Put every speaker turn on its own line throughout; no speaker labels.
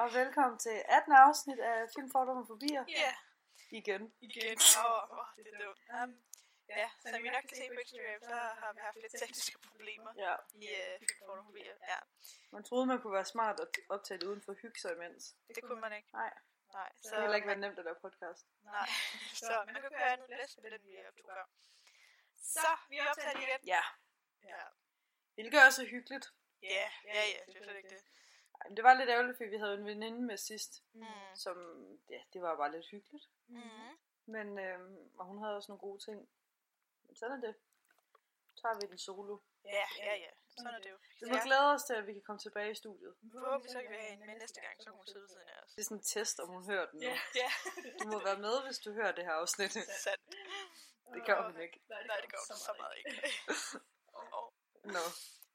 og velkommen til 18. afsnit af Film Fordomme og Fobier
Ja,
igen.
igen. Åh, oh, det er dumt. Um, ja, som I nok kan se på Instagram, så har vi haft lidt tekniske problemer
Ja.
i øh, filmfotografier. Ja,
Man troede, man kunne være smart og optage det uden for hygge sig imens.
det kunne man ikke.
Nej,
Nej,
det
så,
har heller ikke været nemt at lave podcast.
nej. så man kunne gøre noget bedst med den, vi optog før. Så, vi optager det igen.
Ja,
Ja,
hvilket også er hyggeligt.
ja, ja, ja det er slet ikke det.
Ej, men det var lidt ærgerligt, fordi vi havde en veninde med sidst,
Mm.
som, ja, det var bare lidt hyggeligt.
Mm.
Men, øhm, og hun havde også nogle gode ting. Men sådan er det. Så tager vi den solo.
Ja, ja, ja. Sådan er det jo.
Vi må
Ja.
glæde os til, at vi kan komme tilbage i studiet.
mm. Forhåbentlig så kan vi have en med næste gang, så kan hun sidde ved siden af os.
Det er sådan en test, om hun hører den nu.
Ja,
Du må være med, hvis du hører det her afsnit.
sandt.
Det gør hun ikke.
Nej, det gør hun så meget ikke. Og,
Nå.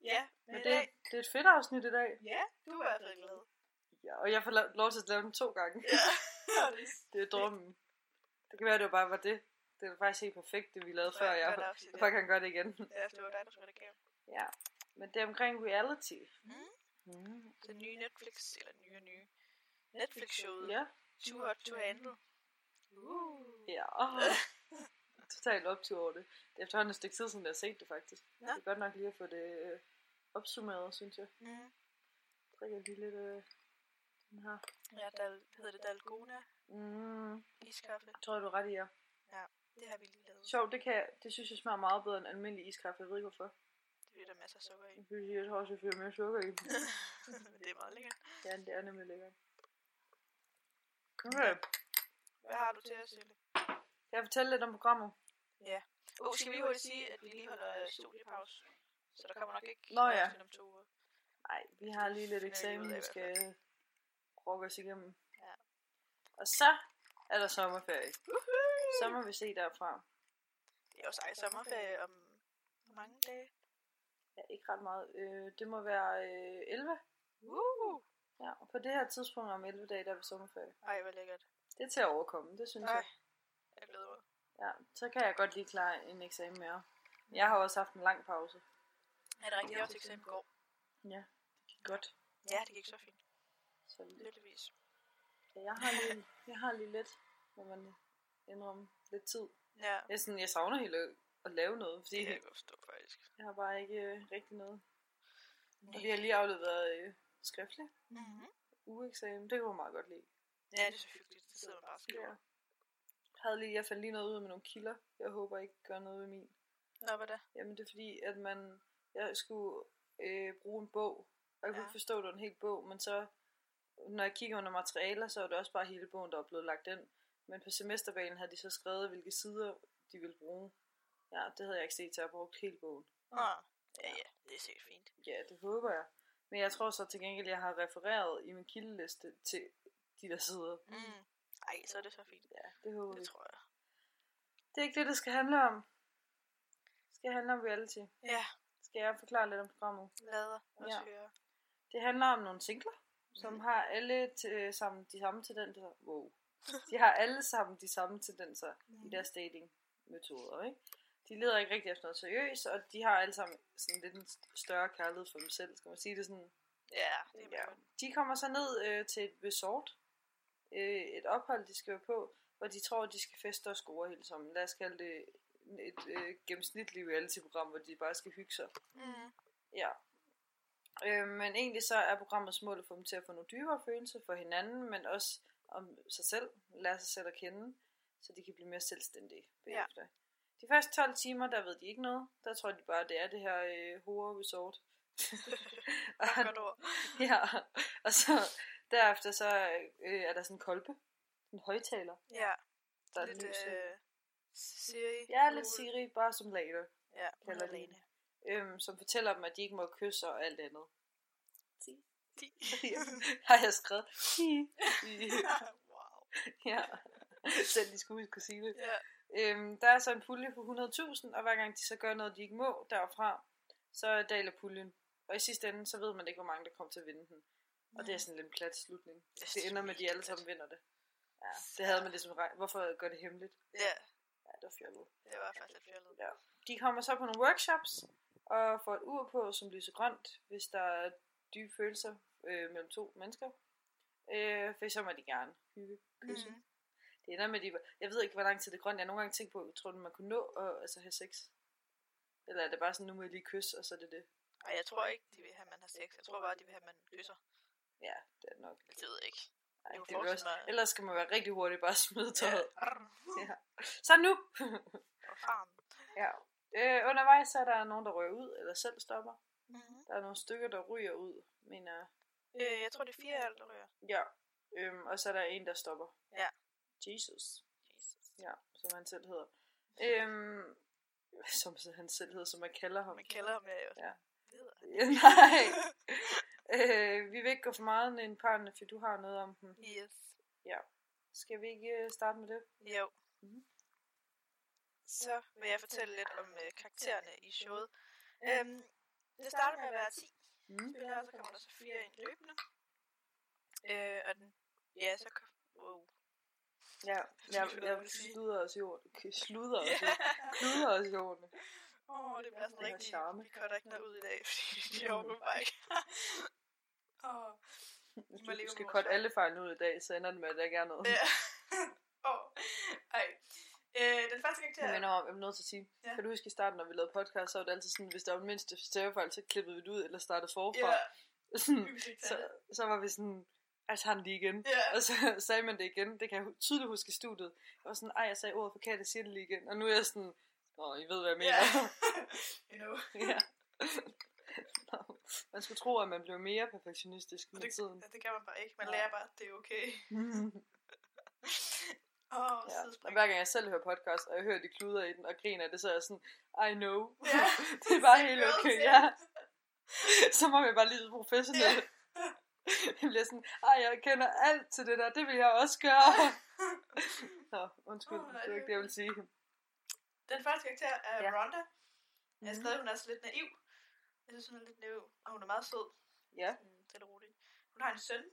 ja,
Men det, det er et fedt afsnit i dag.
Ja, du er i hvert fald glad.
Ja, og jeg får la- lov til at lave den to gange. Det er drømmen. Det kan være, det var bare var det. Det var faktisk helt perfekt, det vi lavede før. Jeg
Ja,
jeg bare kan gøre det igen.
Ja, det var dig, der skulle redigere.
Ja. Men det er omkring reality.
Mm.
Mm.
Den nye Netflix, eller nye og nye. Netflix-showet.
Ja.
Too Hot to Handle. Uh.
Ja. Totalt optur over det. Det er efterhånden et stykke tid, siden jeg har set det faktisk.
Nå.
Det er godt nok lige at få det øh, opsummeret, synes jeg.
Mm.
Jeg drikker lige lidt øh, den her.
Ja, der hedder det Dalgona
Mm.
iskaffe.
Jeg tror, du er ret i jer.
Det har vi lige lavet.
Sjovt, det, kan, jeg- det synes jeg smager meget bedre end almindelig iskaffe. Jeg ved ikke hvorfor.
Det er der masser af sukker i.
Jeg synes, jeg tror også, jeg fyrer mere sukker i.
Men det er meget lækkert.
Ja, det er nemlig lækkert. Okay.
Hvad har du til os, Sille?
Kan jeg fortælle lidt om programmet?
Åh, oh, skal vi lige hurtigt sige, at vi lige holder øh, studiepause? Så der kommer nok ikke
Nå
et
ja.
afsnit om to uger.
Nej, vi har lige lidt
Finder vi ud
eksamen,
af
vi
i
skal brokke os igennem.
Ja.
Og så er der sommerferie. Så må vi se derfra.
Det er også ej sommerferie om hvor mange dage.
Ja, ikke ret meget. Øh, det må være øh, 11.
Uh.
Ja, og på det her tidspunkt om 11 dage, der er vi sommerferie.
Ej, hvor lækkert.
Det er til at overkomme, det synes
Ej,
jeg.
jeg glæder mig.
Ja, så kan jeg godt lige klare en eksamen mere. Jeg har også haft en lang pause.
Er det rigtigt? Jeg var til eksamen i går.
Ja, det gik godt.
Ja, det gik så fint.
Så
Lykkeligvis.
Ja, jeg har lige, jeg har lige lidt, må man indrømme, lidt tid.
Ja.
Jeg, er sådan, jeg savner helt at- at lave noget, fordi
Det kan jeg
yeah.
godt forstå, faktisk.
jeg har bare ikke øh, rigtig noget. Og vi har lige afleveret øh, skriftlig
Mm-hmm.
ugeeksamen, det kunne jeg meget godt lide.
Ja, det er så hyggeligt. Det sidder man bare og skriver.
Jeg, havde lige, jeg fandt lige noget ud med nogle kilder, jeg håber ikke gør noget ved min.
Nå, hvad da?
Jamen det er fordi, at man, jeg skulle øh, bruge en bog, og jeg kunne
Ja.
ikke forstå, at det var en hel bog, men så, når jeg kigger under materialer, så er det også bare hele bogen, der er blevet lagt ind. Men på semesterbanen havde de så skrevet, hvilke sider de ville bruge. Ja, det havde jeg ikke set, så jeg brugte hele bogen.
Nå. Ja, ja, det er sikkert fint.
Ja, det håber jeg. Men jeg tror så til gengæld, jeg har refereret i min kildeliste til de der sider.
Mm. Ej, så er det så fint.
Ja, det håber
Det
jeg.
tror jeg.
Det er ikke det, det skal handle om. Det skal handle om reality.
Ja,
Skal jeg forklare lidt om programmet?
lader os
Ja.
høre.
Det handler om nogle singler, som
Mhm.
har alle t- øh, sammen de samme tendenser. Wow. De har alle sammen de samme tendenser i
Mhm.
deres datingmetoder, ikke? De leder ikke rigtig efter noget seriøst, og de har alle sammen sådan lidt en større kærlighed for dem selv, skal man sige det sådan.
Ja, det er
Ja.
meget godt.
De kommer så ned øh, til et resort, øh, et ophold, de skal være på, hvor de tror, de skal feste og score hele sammen. Lad os kalde det et øh, gennemsnitligt reality-program, hvor de bare skal hygge sig.
Mm.
Ja. Øh, men egentlig så er programmets mål at få dem til at få nogle dybere følelser for hinanden, men også om sig selv, lære sig selv at kende, så de kan blive mere selvstændige bagefter. Ja. De første 12 timer, der ved de ikke noget. Der tror de bare, det er det her øh, horror resort. og,
Godt, godt ord.
ja, og så derefter så øh, er der sådan en kolbe, en højtaler,
Ja,
der er
lidt
lys i.
øh, Siri.
Ja, lidt Siri, bare som later.
Ja, hun
kalder
er
de
Lene.
Øhm, som fortæller dem, at de ikke må kysse og alt andet.
De.
Ja. Har jeg skrevet?
wow.
ja. Selv de skulle huske at sige det.
Ja.
Øhm, der er så en pulje på 100.000, og hver gang de så gør noget, de ikke må derfra, så daler puljen. Og i sidste ende, så ved man ikke, hvor mange der kommer til at vinde den. Og det er sådan lidt en plat slutning.
Jeg synes,
Det ender med, at de alle
mega
sammen vinder det. Ja, det havde man ligesom regnet. Hvorfor gør det hemmeligt?
Ja,
Ja, det var fjollet.
det var faktisk lidt fjollet.
De kommer så på nogle workshops, og får et ur på, som lyser grønt, hvis der er dybe følelser øh, mellem to mennesker. Øh, for så må de gerne hygge. Kysse. Mm.
Mm.
Det ender med, at de, jeg ved ikke, hvor lang tid det er grønt. Jeg har nogle gange tænkt på, tror du, man kunne nå at altså, have sex? Eller er det bare sådan, nu må jeg lige kysse, og så er det det?
Ej, jeg tror ikke, de vil have, at man har sex. Jeg tror bare, de vil have, at man kysser.
Ja, det er det nok.
Det ved jeg ikke.
Ej,
Jeg kunne
Altså, det er vel også,
forestille mig-
ellers skal man være rigtig hurtig bare smide tøjet.
Arr,
Ja. Så nu!
og farm.
ja. Øh, undervejs så er der nogen, der rører ud, eller selv stopper.
Mm-hmm.
Der er nogle stykker, der ryger ud, mener jeg.
Øh, jeg tror, det er fire alt, der ryger.
Ja. Øhm, og så er der en, der stopper.
Ja.
Jesus.
Jesus.
Ja, som han selv hedder. Øhm, som han selv hedder, som man kalder ham.
Man kalder ham jo.
Ja.
Det hedder han.
Ja, nej. øh, vi vil ikke gå for meget ind i parrene, for du har noget om dem.
Yes.
Skal vi ikke øh, starte med det?
Jo.
Mhm.
Så vil jeg fortælle lidt om øh, karaktererne i showet. Øhm, det starter med at være 10
Mm.
spillere, og så kommer der så fire ind løbende. Øh, og den, ja, så kom, wow.
Ja, jeg, jeg sluder os i jorden. Okay, Sluder os i jorden. Kluder os i jorden.
Åh, oh, det bliver sådan
Den har
rigtig,
charme.
vi cutter ikke noget ud i dag, fordi de overgår bare ikke. Åh,
Hvis
må leve
du skal
med
cutte
vores
alle fejl ud i dag, så ender det med, at der ikke er noget.
ja. Åh, ej. Øh, den første karakter...
Jeg mener om, jeg er nødt til at sige,
Ja.
kan du huske i starten, når vi lavede podcast, så var det altid sådan, hvis der var den mindste stavefejl, så klippede vi det ud, eller startede forfra.
Ja,
Sådan,
vi fik
så,
taget.
så var vi sådan, jeg tager den lige igen.
Ja,
Og så sagde man det igen. Det kan jeg hu- tydeligt huske i studiet. Jeg var sådan, ej, jeg sagde ordet forkert, jeg siger det lige igen. Og nu er jeg sådan, åh, I ved, hvad jeg mener.
ja.
Yeah.
you know.
ja. Nå, man skulle tro, at man blev mere perfektionistisk med
Det,
tiden.
ja, det kan man bare ikke. Man
Nej.
lærer bare, at det er okay. Åh, oh,
ja.
ja.
Og hver gang jeg selv hører podcast, og jeg hører de kluder i den, og griner af det, så er jeg sådan, I know.
Ja,
det er bare
det er
helt
girl
okay,
shit.
ja. Så må jeg bare lige så professionel. jeg bliver sådan, ej, jeg kender alt til det der, det vil jeg også gøre. Nå, undskyld,
Åh,
oh,
nej,
det var
det
ikke det, jeg ville sige.
Den første karakter er
Ja.
ja. Rhonda. Jeg er
Mhm.
stadig, hun er så lidt naiv. Jeg synes, hun er lidt naiv, og hun er meget sød.
Ja.
Sådan, stille og roligt. Hun har en søn,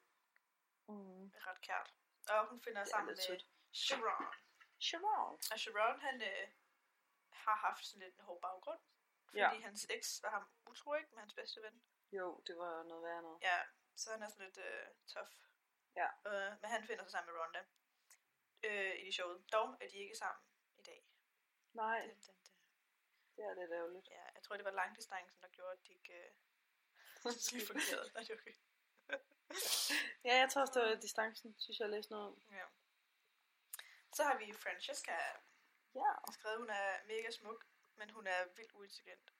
Mm.
der er ret kært. Og hun finder
Det er
sammen
lidt
med
sødt.
Sharon.
Sharon.
Og Sharon, han øh, har haft sådan lidt en hård baggrund.
Ja.
Fordi hans eks var ham utro, ikke? Med hans bedste ven.
Jo, det var noget værre noget.
Ja, så han er sådan lidt øh, tough.
Ja.
Øh, men han finder sig sammen med Rhonda. Øh, i showet. Dog er de ikke sammen i dag.
Nej,
Dun, dun, dun.
det er lidt ærgerligt.
Ja, jeg tror, det var langdistancen, der gjorde, at de ikke... Øh, lige fungerede. Nej, det er okay.
ja, jeg tror også, det var distancen, synes jeg, jeg læste noget om.
Ja. Så har vi Francesca.
Ja.
Skrevet, hun er mega smuk, men hun er vildt uintelligent.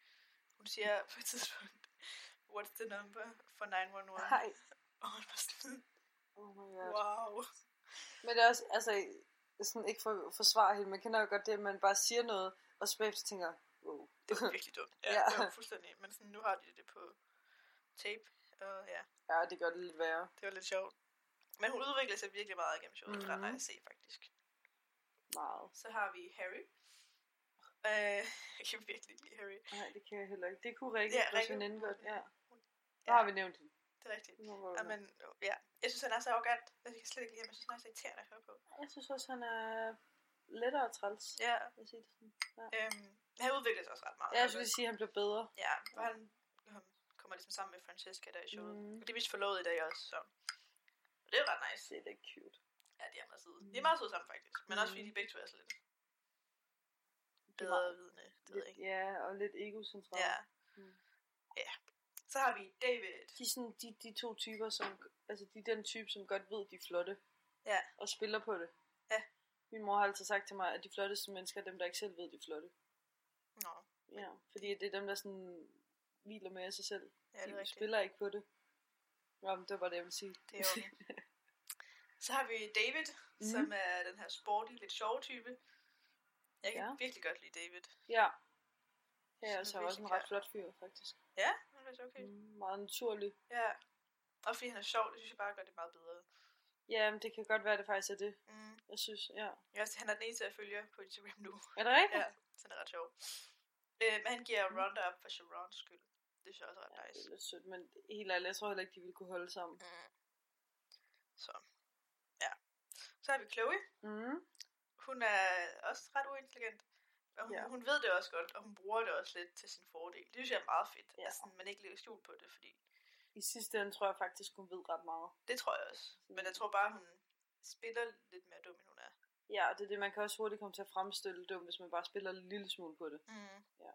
Hun siger på et tidspunkt, what's the number for 911?
Hej.
Og hun var sådan,
Oh my god. Wow.
wow.
Men det er også, altså, sådan ikke for at forsvare hende, man kender jo godt det, at man bare siger noget, og så bagefter tænker, wow.
Det var virkelig dumt. Ja,
Ja.
det var fuldstændig. Men sådan, nu har de det på tape, og ja,
Ja, det gør det lidt værre.
det var lidt sjovt. Men hun udviklede sig virkelig meget igennem showet. Mm. Det var ret
Mhm.
nice at se, faktisk.
Meget.
Så har vi Harry. Øh, jeg kan virkelig ikke lide Harry.
Nej, det kan jeg heller ikke. Det kunne Rikke,
Ja,
ja, vores
Rikke.
veninde godt. Ja. Der
Ja.
har vi nævnt hende.
Det er rigtigt.
Nu hvor
Ja,
vi-
men, ja. Jeg synes, han er så arrogant. Jeg kan slet ikke lide ham. Jeg synes, han er så irriterende at høre på.
Jeg synes også, han er lettere træls.
Ja.
Jeg, sige det sådan.
Øhm, han udvikler sig også ret meget.
Ja, jeg skulle lige sige, at han blev bedre.
Ja, for han øhm, kommer ligesom sammen med Francesca der i showet.
Mm.
Mm. Og de er vist forlovet i dag også, så... Og det er ret nice.
Det er da cute.
Ja, de er meget søde.
Mm.
De er meget søde sammen, faktisk. Men også
Mm.
fordi de begge to er så lidt
er
bedre
meget-
vidne. Det ved
Lidt,
jeg ikke.
ja, og lidt egocentralt.
Ja.
Mm.
Ja. Så har vi David.
de, er sådan, de, de to typer, som, altså de er den type, som godt ved, de er flotte.
Ja.
Og spiller på det.
Ja.
Min mor har altid sagt til mig, at de flotteste mennesker er dem, der ikke selv ved, de er flotte.
Nå,
Ja. Fordi det er dem, der sådan hviler med af sig selv.
ja, det er
de
rigtigt.
spiller ikke på det. Nå, men det var det, jeg ville sige.
Det er okay. Så har vi David, mm.
Mhm.
som er den her sporty, lidt sjove type. Jeg kan
Ja.
ja. virkelig godt lide David.
ja. Ja,
Sådan
og så er også en
virkelig
ret flot fyr, faktisk.
Ja, han er så okay. Mm.
Mm, meget naturlig.
Ja. Og fordi han er sjov, det synes jeg bare gør det meget bedre.
Ja, men det kan godt være, det faktisk er det.
Mm.
Jeg synes, ja.
Jeg også, han er den eneste, jeg følger på Instagram nu.
Er det rigtigt?
ja, så han er ret sjov. Øh, men han giver Ronda op for Sharons skyld. Det synes jeg også er
Mm. Ja,
ret
det er
nice.
lidt sødt, men helt ærligt, jeg tror heller ikke, de ville kunne holde sammen.
Mm. Så. Ja. Så har vi Chloe.
Mm.
Hun er også ret uintelligent. Og hun,
Ja.
ja. hun ved det også godt, og hun bruger det også lidt til sin fordel. Det synes jeg er meget fedt,
Ja.
ja. at sådan, man ikke lægger skjul på det, fordi
I sidste ende tror jeg faktisk, hun ved ret meget.
Det tror jeg også. Men
Mm.
jeg tror bare, hun spiller lidt mere dum, end hun er.
Ja, og det er det, man kan også hurtigt komme til at fremstille dum, hvis man bare spiller en lille smule på det.
Mm.
Ja.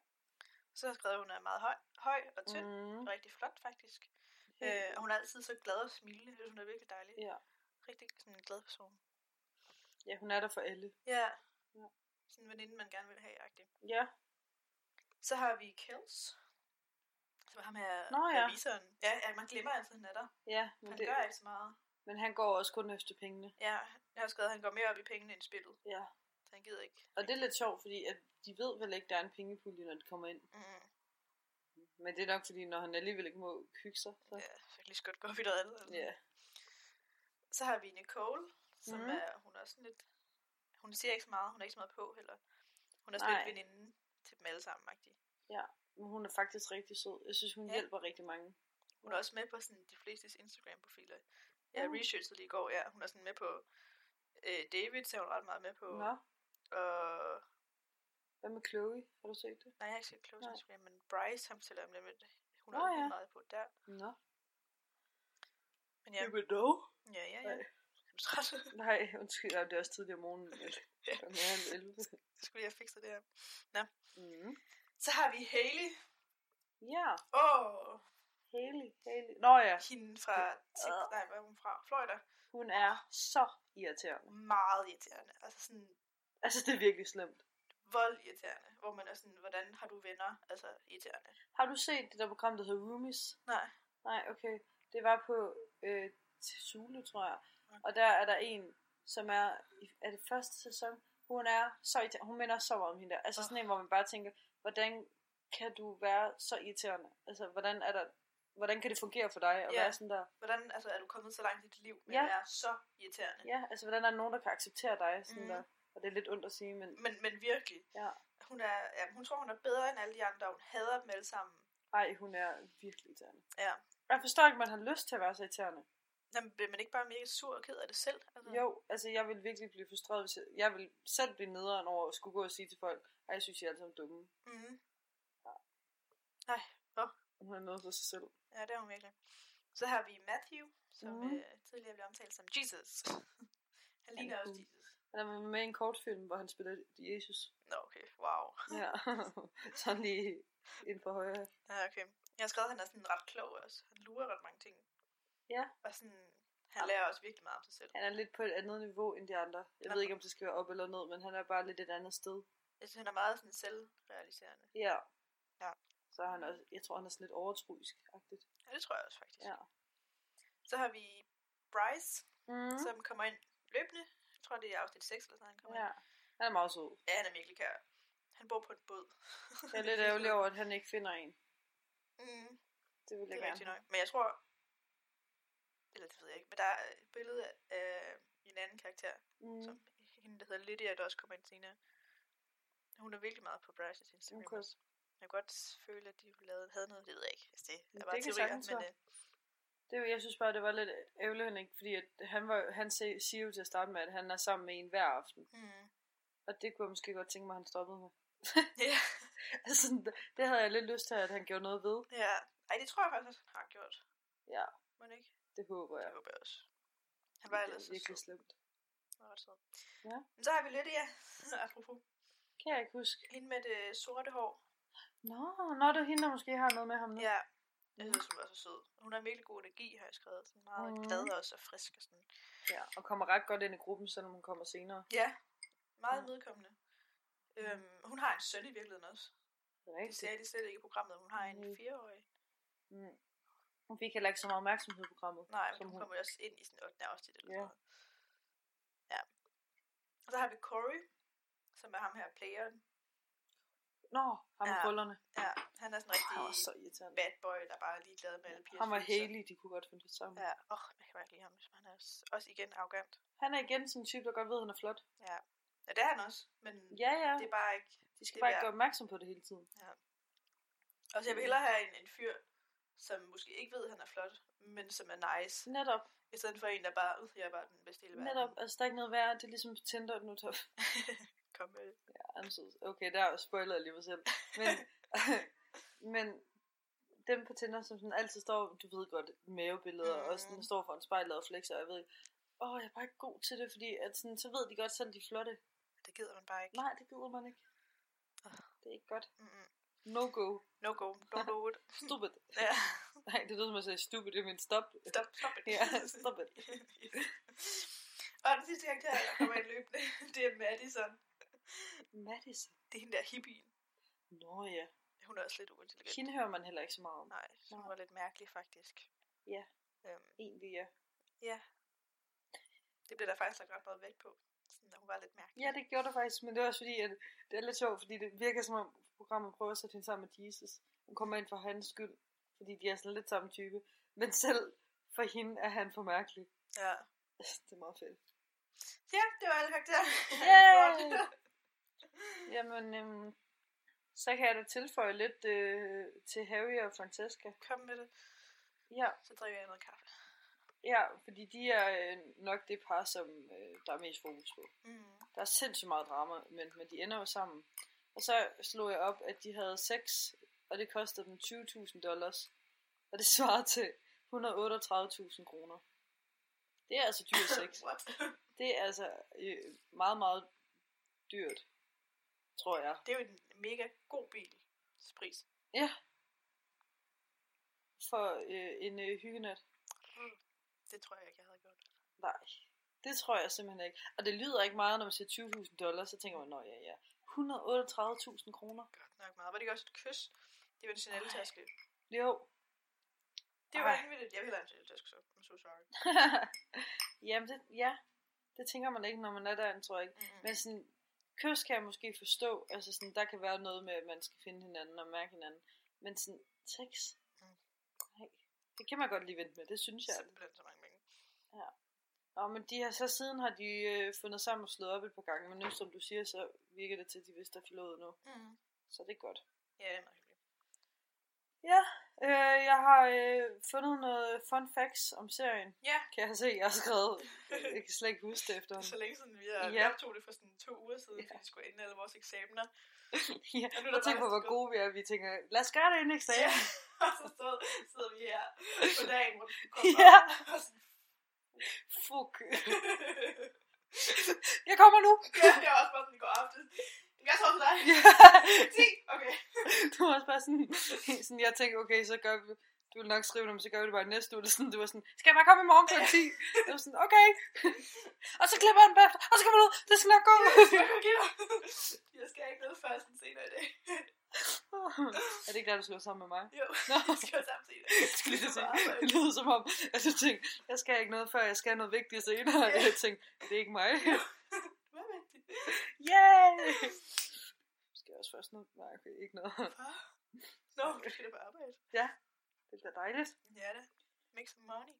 Så har jeg skrevet, at hun er meget høj, høj og tynd.
Mm.
Mm. Rigtig flot, faktisk.
Helt
Øh, og hun er altid så glad og smilende. Jeg synes, hun er virkelig dejlig.
Ja.
Rigtig sådan en glad person.
ja, hun er der for alle.
Ja.
Ja.
Sådan en veninde, man gerne vil have, agtig.
Ja,
Så har vi Kels. Som er ham her,
Nå ja.
revisoren. Ja, ja, man glemmer altid, han er der.
ja men,
Han
det,
gør ikke så meget.
men han går også kun efter pengene.
Ja, jeg har skrevet, at han går mere op i pengene end spillet.
Ja.
Så han gider ikke.
Og det er lidt sjovt, fordi at de ved vel ikke, der er en pengepulje, når de kommer ind.
Mm.
Men det er nok, fordi når han alligevel ikke må hygge sig. Så.
Ja, så kan jeg lige så godt gå op i noget andet. eller-
Ja.
Så har vi Nicole, som
Mhm.
mm. er, hun er også sådan lidt, hun siger ikke så meget, hun er ikke så meget på heller. Hun er
Nej.
sådan lidt veninde til dem alle sammen, agtig.
Men hun er faktisk rigtig sød. Jeg synes, hun ja.
Ja.
hjælper rigtig mange.
Hun er også med på sådan de flestes Instagram-profiler. Jeg
Nå.
researchede lige i går, ja. Hun er sådan med på øh, David, så er hun ret meget med på.
Nå,
Og,
hvad med Chloe? Har du set det?
nej, jeg har ikke set Chloe's
Nej.
Instagram, men Bryce, ham fortæller om lidt, men hun er
Nå,
også
ja.
meget på der.
Nå.
Men ja,
vil dog.
ja, ja, ja.
Øhm, Nej.
Er du træt?
Nej, undskyld, ja, det er også tidligere om morgenen. Ja. Mere end 11.
Jeg skulle lige have fikset det her.
Mm.
Så har vi Hailey.
Ja,
Åh, oh,
Haley, Haley. Nå ja,
hende fra TikTok, nej, hvor er hun fra? Florida.
hun er så irriterende.
meget irriterende. Altså sådan
Altså, det er virkelig slemt.
vold irriterende. Hvor man er sådan, hvordan har du venner? Altså irriterende.
Har du set det der program, der hedder Roomies?
Nej.
Nej, okay. Det var på øh, Zulu, tror jeg. Og der er der en, som er, er det første sæson, hun er så irriterende. Hun minder så meget om hende der. Altså sådan en, hvor man bare tænker, hvordan kan du være så irriterende? Altså, hvordan er der, hvordan kan det fungere for dig at
Ja.
være sådan der?
Hvordan altså, er du kommet så langt i dit liv, men
Ja.
ja. er så irriterende? Ja.
Ja, altså, hvordan er der nogen, der kan acceptere dig sådan mm.
Mhm.
der? Og det er lidt ondt at sige, men
Men, men virkelig.
Ja.
Hun, er, ja, hun tror, hun er bedre end alle de andre. og Hun hader dem alle sammen.
ej, hun er virkelig irriterende.
Ja.
Jeg forstår ikke, man har lyst til at være så irriterende.
Jamen, bliver man ikke bare mega sur og ked af det selv? Altså,
Jo, altså jeg vil virkelig blive frustreret, hvis jeg, jeg vil selv blive nederen over at skulle gå og sige til folk, at jeg synes, I er alle sammen dumme.
Mm-hmm.
Hun er noget for sig selv.
Ja, det er hun virkelig. Så har vi Matthew, som
Mhm.
mm. øh, tidligere blev omtalt som Jesus. Han ligner
er
også
cool.
Jesus.
Han er med i en kortfilm, hvor han spiller Jesus.
Nå, okay. Wow.
Ja, sådan lige ind på højre.
Ja, okay. Jeg har skrevet, at han er sådan ret klog også. Han lurer ret mange ting.
Ja.
Og sådan, han lærer også virkelig meget om sig selv.
Han er lidt på et andet niveau end de andre. Jeg ved ikke, om det skal være op eller ned, men han er bare lidt et andet sted.
Jeg synes, han er meget sådan selvrealiserende.
Ja.
Ja.
Så er han også, jeg tror, han er sådan lidt overtroisk-agtigt.
Ja, det tror jeg også faktisk.
Ja.
Så har vi Bryce,
Mm.
mm. som kommer ind løbende. Jeg tror, det er afsnit 6 eller sådan, han kommer
Ja.
ind.
Han er meget sød.
Ja, han er virkelig kær. Han bor på en båd.
Jeg er lidt ærgerlig over, at han ikke finder en.
Mm,
Det vil
det
jeg
er rigtigt
gerne.
nok. Men jeg tror... Eller det ved jeg ikke, men der er et billede af en anden karakter, mm.
Mm.
som hende, der hedder Lydia, der også kommer ind senere. Hun er virkelig meget på Bryce's Instagram.
Okay.
også. Jeg kan godt føle, at de lavede, havde noget, det ved jeg ikke. Altså, det
Men
er bare
det kan
teorier,
sagtens
men
være.
øh,
Det, var- jeg synes bare, det var lidt ærgerligt, han ikke, fordi at han, var, han se- siger jo til at starte med, at han er sammen med en hver aften.
mm.
Og det kunne jeg måske godt tænke mig, at han stoppede med.
ja,
altså, sådan, det havde jeg lidt lyst til, at han gjorde noget ved.
ja. Ej, det tror jeg faktisk, også, han har gjort.
Ja,
Må han ikke?
det håber
Ja. Det
jeg.
håber jeg også. Han var
Det
ellers
er virkelig
så
slemt.
sød. Ret sød.
Ja.
Men så har vi Lydia, apropos.
Kan jeg ikke huske.
Hende med det sorte hår.
Nå, nå det er hende, der måske har noget med ham nu.
Ja, jeg
Mm.
synes, hun var så sød. Hun har virkelig god energi, har jeg skrevet. Sådan meget
Mm.
mm. glad også og frisk og sådan.
ja. Og kommer ret godt ind i gruppen, selvom hun kommer senere.
Ja, meget
Ja.
medkommende. Øhm, hun har en søn i virkeligheden også.
Det er
Det sagde
rigtigt.
de slet ikke i programmet. Hun har en
Mm.
fireårig.
Mm. Hun fik heller ikke så meget opmærksomhed i programmet.
Nej, men
som
hun
hun-
kommer jo også ind i sådan 8. afsnit eller
Ja.
sådan noget. Ja. Og så har vi Corey, som er ham her playeren.
Nå, ham med
Ja.
krøllerne.
Ja, han er sådan en rigtig
Åh,
oh,
så irriterende.
bad boy, der bare er ligeglad med alle piger.
Ham og Haley, de kunne godt finde det sammen.
Ja, åh, oh, jeg kan bare ikke lide ham. Han er også, også igen arrogant.
Han er igen sådan en type, der godt ved, at han er flot.
Ja, det er han også, men
Ja, ja.
det er bare ikke...
De skal
det
bare
vil
ikke
jeg-
gøre opmærksom på det hele tiden.
Og så jeg vil hellere have en, en fyr, som måske ikke ved, at han er flot, men som er nice,
Netop,
i stedet for en, der bare, ud, jeg er bare den bedste i hele verden.
netop. Altså, der er ikke noget værd. Det er ligesom Tinder nu. Top.
Kom øh, med det.
Okay, der spoiler jeg lige mig selv. Men, men dem på Tinder, som sådan altid står, du ved godt, mavebilleder, mm. og sådan
Mhm.
står foran spejlet og flexer, og jeg ved ikke, åh, jeg er bare ikke god til det, fordi at sådan, så ved de godt selv, de er flotte.
Det gider man bare ikke.
Nej, det gider man ikke.
Ah.
Det er ikke godt.
Mm-mm.
No go.
No go. Don't do it.
Stupid.
ja.
Nej, det lyder som at sige stupid, det er min stop.
Stop, stop it.
Ja, stop it.
Og den sidste karakter, jeg kommer ind løbende, det er Madison.
Madison.
Det er hende der hippien.
Nå ja.
Hun er også lidt uintelligent.
Hende hører man heller ikke så meget om.
Nej, hun
Nej.
var lidt mærkelig faktisk.
Ja.
Øhm,
Egentlig ja.
ja. Det blev der faktisk lagt ret meget vægt på. Sådan, at hun var lidt mærkelig.
Ja, det gjorde der faktisk, men det er også fordi, at det er lidt sjovt, fordi det virker som om programmet prøver at sætte hende sammen med Jesus. Hun kommer ind for hans skyld, fordi de er sådan lidt samme type. Men selv for hende er han for mærkelig.
ja.
Det er meget fedt.
ja, det var alle karakterer.
Yay!
Godt.
Jamen, øhm, så kan jeg da tilføje lidt øh, til Harry og Francesca.
Kom med det.
Ja,
Så drikker jeg noget kaffe.
ja fordi de er øh, nok det par, som øh, der er mest fokus på.
Mm.
Der er sindssygt meget drama, men, men de ender jo sammen. Og så slog jeg op, at de havde sex, og det kostede dem 20.000 dollars. Og det svarer til 138.000 kroner. Det er altså dyr sex.
What?
Det er altså øh, meget, meget dyrt, tror jeg.
Det er jo en mega god bil. Pris.
For øh, en øh, hyggenat.
Det tror jeg ikke, jeg havde gjort.
Nej, det tror jeg simpelthen ikke. Og det lyder ikke meget, når man siger 20.000 dollars, så tænker man, nå ja, ja. 138.000 kroner.
Godt nok meget. Var det ikke også et kys? Det var en Chanel-taske.
Jo,
Det var
Ej.
vanvittigt. Jeg ville have en Chanel-taske, så I'm so sorry.
Jamen, det, ja. Det tænker man ikke, når man er der, tror jeg ikke.
Mm.
Men sådan, kys kan jeg måske forstå. Altså sådan, der kan være noget med, at man skal finde hinanden og mærke hinanden. Men sådan, sex?
Mm.
Nej. Det kan man godt lige vente med, det synes jeg.
Simpelthen så mange penge.
Og men de har så siden har de øh, fundet sammen og slået op et par gange, men nu som du siger, så virker det til, at de vidste, er forlovet nu.
Mm.
Så det er godt.
Ja, det er meget hyggeligt.
Ja, øh, jeg har øh, fundet noget fun facts om serien.
Ja.
Kan jeg se, jeg har skrevet. Jeg kan slet ikke huske det efterhånden.
Så længe siden vi har
Ja.
ja. optog det for sådan to uger siden,
Ja.
fordi vi skulle ende alle vores eksamener.
Ja,
Og nu er
og
der
tænk på,
bare
hvor
sådan
gode vi er. Vi tænker, lad os gøre det inden eksamen.
Ja. og så stod, sidder vi her på dagen, hvor du kommer
Ja.
op, og sådan,
Fuck. Jeg kommer nu.
ja, det var også bare sådan i går aftes. Jeg tror til dig.
Ja.
10. Okay.
Du var også bare sådan, sådan, jeg tænkte, okay, så gør vi, du vil nok skrive det, men så gør vi det bare i næste uge. Det er Sådan, du var sådan, skal jeg bare komme i morgen kl. 10? Jeg var sådan, okay. Og så klipper jeg den bagefter, og så kommer du ud, det skal nok gå.
Jeg skal ikke noget først end senere i dag.
er det ikke der, du slår sammen med mig?
Jo,
Nå,
jeg skal jo samtidig. Jeg
jeg skulle lige til at sige, det lyder som om, at du tænkte, jeg skal ikke noget før, jeg skal noget vigtigt senere.
Ja.
Jeg tænkte, det er ikke mig.
Hvad er det?
Yay! Skal jeg også først noget? Nej, okay, ikke noget.
Far? Nå, du skal da på arbejde.
Det bliver dejligt.
Ja da. Make some money.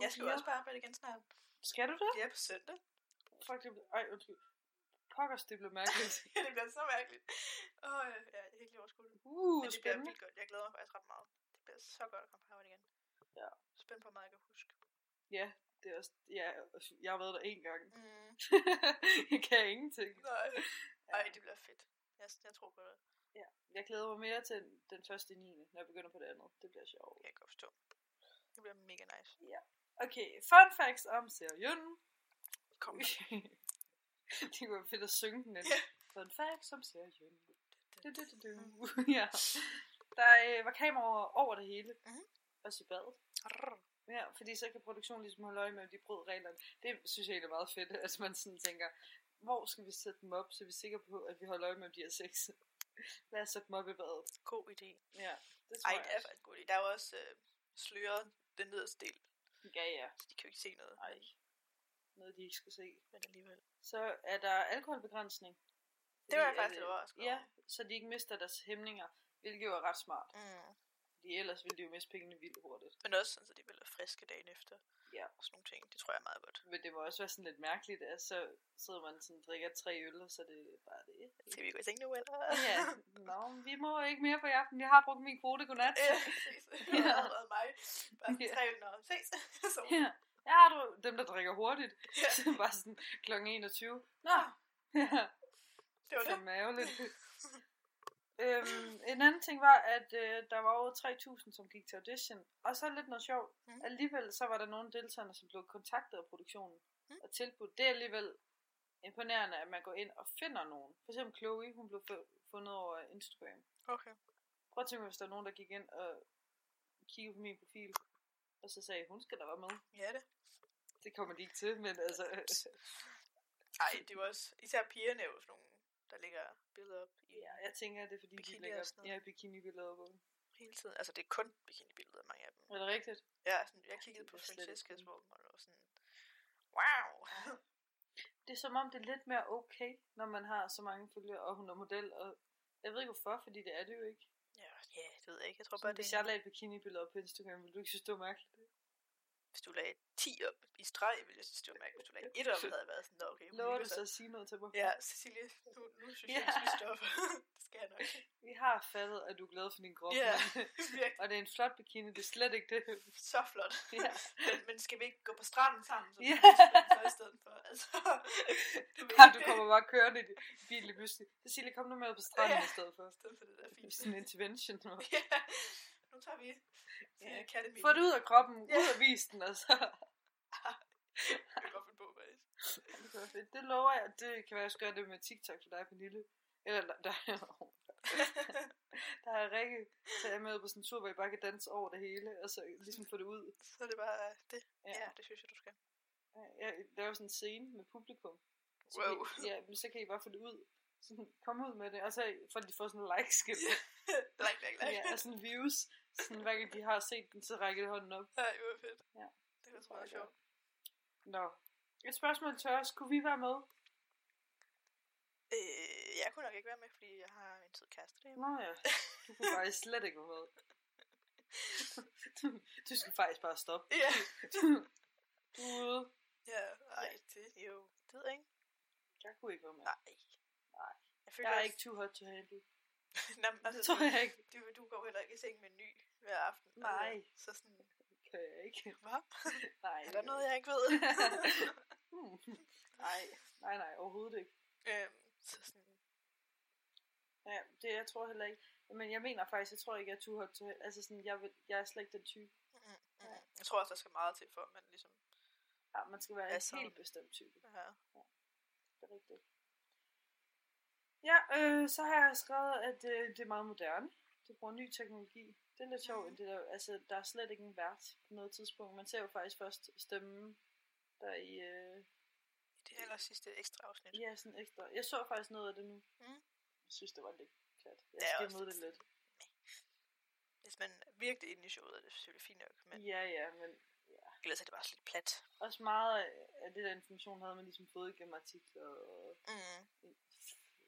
Jeg skal jo også på arbejde igen snart.
Skal du det?
Det er på søndag.
Fuck, det blev... Ej, undskyld. Pokkers, det blev mærkeligt.
Ja, det bliver så mærkeligt. Åh, ja, jeg er helt lige overskuddet.
Uh,
Men det bliver
spændende.
vildt godt. Jeg glæder mig faktisk ret meget. Det bliver så godt at komme på arbejde igen.
Ja.
Spændt på hvor meget, jeg kan huske.
Ja, det er også... Ja, jeg har været der én gang.
Mm.
jeg kan ingenting.
Nej. Ej, det bliver fedt. Jeg, jeg tror på det.
Jeg glæder mig mere til den første 9. når jeg begynder på det andet. Det bliver
Det
sjovt.
kan jeg godt forstå. Det bliver mega nice.
Okay, fun facts om serien.
Kom.
det kunne være fedt at synge den.
Ja.
Fun facts om serien. Du, du, du, du. ja. Der øh, var kameraer over det hele.
Mhm.
Også i badet. Ja, fordi så kan produktionen ligesom holde øje med, om de brød reglerne. Det synes jeg egentlig er meget fedt, at man sådan tænker, hvor skal vi sætte dem op, så vi er sikre på, at vi holder øje med, om de har sex. Lad os sætte dem op i badet.
God idé.
Ja, det tror
Ej,
jeg
det er
også.
faktisk en god idé. Der er jo også øh, sløret den nederste del.
Ja, ja.
Så de kan jo ikke se noget.
Ej. Noget, de ikke skal se.
Men alligevel.
Så er der alkoholbegrænsning.
Det var jeg
Fordi,
faktisk
at,
lidt overrasket
Ja, så de ikke mister deres hæmninger, hvilket jo er ret smart.
over. Mm.
Fordi ellers ville de jo miste pengene vildt hurtigt.
Men også sådan, så de bliver friske dagen efter.
Ja.
Og sådan nogle ting. Det tror jeg er meget godt.
Men det må også være sådan lidt mærkeligt, at så sidder man sådan og drikker tre øl, og så er det bare det.
Skal vi gå i seng nu, eller?
Ja, nå, vi må ikke mere på i aften. Jeg har brugt min kvote, godnat.
Ja, præcis. Det har været mig. Bare sådan
Ja.
tre øl, og ses. Så,
Ja, ja du, dem der drikker hurtigt.
Ja.
Så bare sådan kl. 21. Nå, ja,
det var det.
maveligt. Øhm, en anden ting var, at øh, der var over 3.000, som gik til audition. Og så lidt noget sjovt.
Mhm.
Mm. Alligevel så var der nogle deltagere, som blev kontaktet af produktionen
Mhm.
og tilbudt. Det er alligevel imponerende, at man går ind og finder nogen. For eksempel Chloe, hun blev fu- fundet over Instagram.
Okay.
Prøv at tænke, mig, hvis der var nogen, der gik ind og kiggede på min profil, og så sagde, hun skal da være med.
Ja, det.
Det kommer de ikke til, men altså...
Ej, det var også... Især pigerne er jo sådan nogle, der ligger billeder op i
ja, jeg tænker, at det er fordi,
Bikini
de
og
lægger
sådan noget.
ja, bikinibilleder på.
hele tiden. Altså, det er kun bikini-billeder, mange af dem.
Er det rigtigt?
Ja, sådan, jeg kiggede
Det
på
er slet ikke
Francescas
sådan.
våben, og det var sådan... Wow!
det er som om, det er lidt mere okay, når man har så mange følgere, og hun er model, og jeg ved ikke hvorfor, fordi det er det jo ikke.
Ja, ja det ved jeg ikke. Jeg tror
Så
bare, det
hvis
er...
jeg lagde bikinibilleder op på Instagram, ville du ikke synes, det var mærkeligt?
Hvis du lagde 10 op i streg, ville jeg synes, det var mærkeligt. Hvis du lagde 1 op, havde jeg været sådan, "Nå, okay, hun
Lover
hygger
du så
sig."
at sige noget til mig?
Ja, Cecilie, nu, nu synes jeg,
Ja.
vi skal stoppe. det skal jeg nok.
Vi har fattet, at du er glad for din krop.
Ja,
men-
virkelig.
og det er en flot bikini, det er slet ikke det.
Så flot.
ja.
Men, men skal vi ikke gå på stranden sammen, som
Ja.
yeah. så i stedet for? Altså, det vil
Bare,
ikke
du
det.
kommer bare kørende i din bil lige pludselig. Cecilie, kom nu med på stranden
Ja.
i stedet for.
I stedet for det der
Det
fint.
er Sådan en intervention. hvor-
ja, nu tager vi til
Ja.
Academy.
Få det ud af kroppen,
Ja.
ud af altså. vis den, og så...
Det kan godt finde på, faktisk.
Det kunne være fedt. Det lover jeg. Det kan være, jeg skal gøre det med TikTok for dig, Pernille. Eller der, der er Rikke, så jeg er med på sådan en tur, hvor jeg bare kan danse over det hele, og så ligesom få det ud.
Så er det bare det. Ja.
Ja.
ja, det synes jeg, du skal.
Jeg laver sådan en scene med publikum. Så
Wow.
Kan I, ja, men så kan I bare få det ud. Sådan, kom ud med det, og så får de får sådan en like-skilt.
like, like, like.
Ja, altså. og sådan views. Sådan, hver gang de har set den, så rækker de hånden op.
Ej, det var fedt.
Ja.
Det var så meget
Det tror jeg,
sjovt.
Nå. Et spørgsmål til os. Kunne vi være med?
Øh, jeg kunne nok ikke være med, fordi jeg har en tid kæreste derhjemme.
Nå ja. Du kunne faktisk slet ikke være med. Du skal faktisk bare stoppe.
Ja.
Du er ude.
Ja, ej, det er jo... Det ved jeg ikke.
Jeg kunne ikke være med.
Nej.
Nej.
Jeg føler
Jeg er
også-
ikke too hot to handle.
Nå, men altså,
Det tror
du,
jeg ikke.
du, du går heller ikke i seng med en ny hver aften. altså,
Nej.
Så sådan,
Kan jeg ikke.
hvad?
Nej.
Er der noget, jeg ikke ved?
Hmm. Nej, nej, nej, overhovedet ikke.
øhm, så sådan,
Ja, det jeg tror heller ikke. Men jeg mener faktisk, jeg tror ikke, jeg er too hot to handle. Altså sådan, jeg, vil, jeg er slet ikke den type.
mm, mm. Jeg tror også, der skal meget til, for at man ligesom...
Ja, man skal være
Ja,
en
så-
helt bestemt type.
Ja.
Det er rigtigt. Ja, øh, så har jeg skrevet, at øh, det er meget moderne. Det bruger ny teknologi. Det er lidt sjovt,
Mhm.
mm. det der, altså, der er slet ikke en vært på noget tidspunkt. Man ser jo faktisk først stemmen, der i, øh,
Det er ellers sidste ekstra afsnit.
ja, sådan ekstra. Jeg så faktisk noget af det nu.
Mhm.
Jeg synes, det var lidt klat. Jeg
Det er
skal
også
mod det
lidt
lidt.
Hvis man er virkelig inde i showet, er det selvfølgelig fint nok, men
Ja, ja, men
ellers er det bare sådan lidt plat.
også meget af- af det der information havde man ligesom fået gennem artikler og
Mm.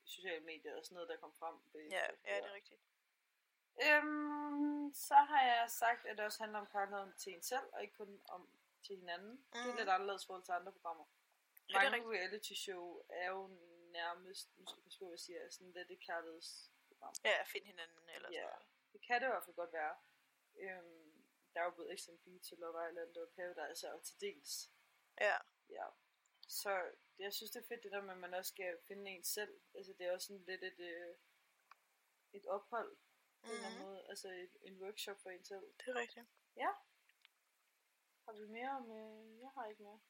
sociale medier og sådan noget, der kom frem. Ved,
Ja, ja, det er rigtigt.
Øhm, så har jeg sagt, at det også handler om kærligheden til en selv, og ikke kun om til hinanden. Mm. Det
Mhm.
er lidt anderledes i forhold til andre programmer.
det er
Mange ja, reality show er jo nærmest, nu skal jeg passe på, hvad jeg siger, sådan lidt et kærligheds...
Ja, find hinanden eller
Ja.
sådan noget.
Det kan det i hvert fald godt være. Øhm, der er jo både XMB til Love Island og Paradise, og til dels
Ja,
Ja. Så jeg synes, det er fedt det der med, at man også skal finde en selv. Altså det er også sådan lidt et, øh, et ophold på mm. en eller anden
Mhm.
måde. Altså et, en workshop for en selv.
det er rigtigt.
Har vi mere om... Øh, jeg har ikke mere.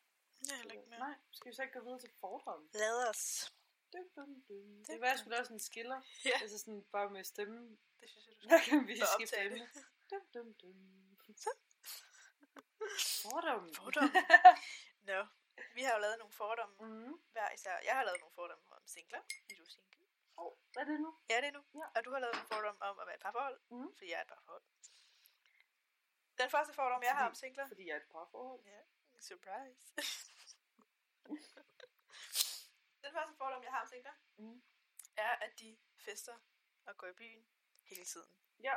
Jeg er heller ikke mere.
Nej, skal vi så ikke gå videre til fordommen?
Lad os.
Dum, dum, dum.
Dum,
Det var
dum.
sgu da også en skiller.
Ja.
Altså sådan bare med stemmen.
Det synes jeg, du skal.
Hver gang vi
Så
skal
optage
stemme. Dum, dum, dum. Fordommen.
Fordomme. Nå, vi har jo lavet nogle fordomme
Mm.
hver især. Jeg har lavet nogle fordomme om singler, fordi du er single.
Oh, hvad er det nu?
Ja, Mm. det er nu.
Ja.
Og du har lavet en fordom om at være et parforhold,
Mhm.
fordi jeg er et parforhold. Den første fordom, jeg har om
Fordi-
singler,
Fordi jeg er et parforhold.
Surprise. Den første fordom, jeg har om singler,
Mhm.
er, at de fester og går i byen hele tiden.
Ja.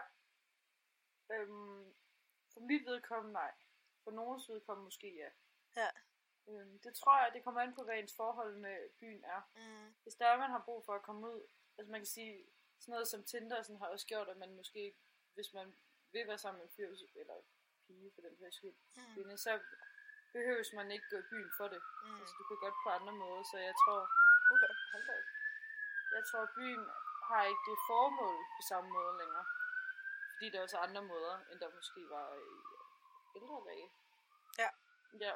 Øhm, for mit vedkommende nej. For nogens vedkommende måske ja.
Ja.
Øhm, det tror jeg, det kommer an på, hvad ens forhold med byen er.
Mm.
Hvis der er, man har brug for at komme ud, altså man kan sige, sådan noget som Tinder og sådan har også gjort, at man måske, hvis man vil være sammen med en fyr, eller pige for den sags skyld,
Mm.
kvinde, så behøves man ikke gå i byen for det.
Mm.
Altså, du kan godt på andre måder, så jeg tror,
Okay.
Hold da op. Jeg tror, byen har ikke det formål på samme måde længere. Fordi der er også andre måder, end der måske var i øh, ældre dage.
Ja.
Ja.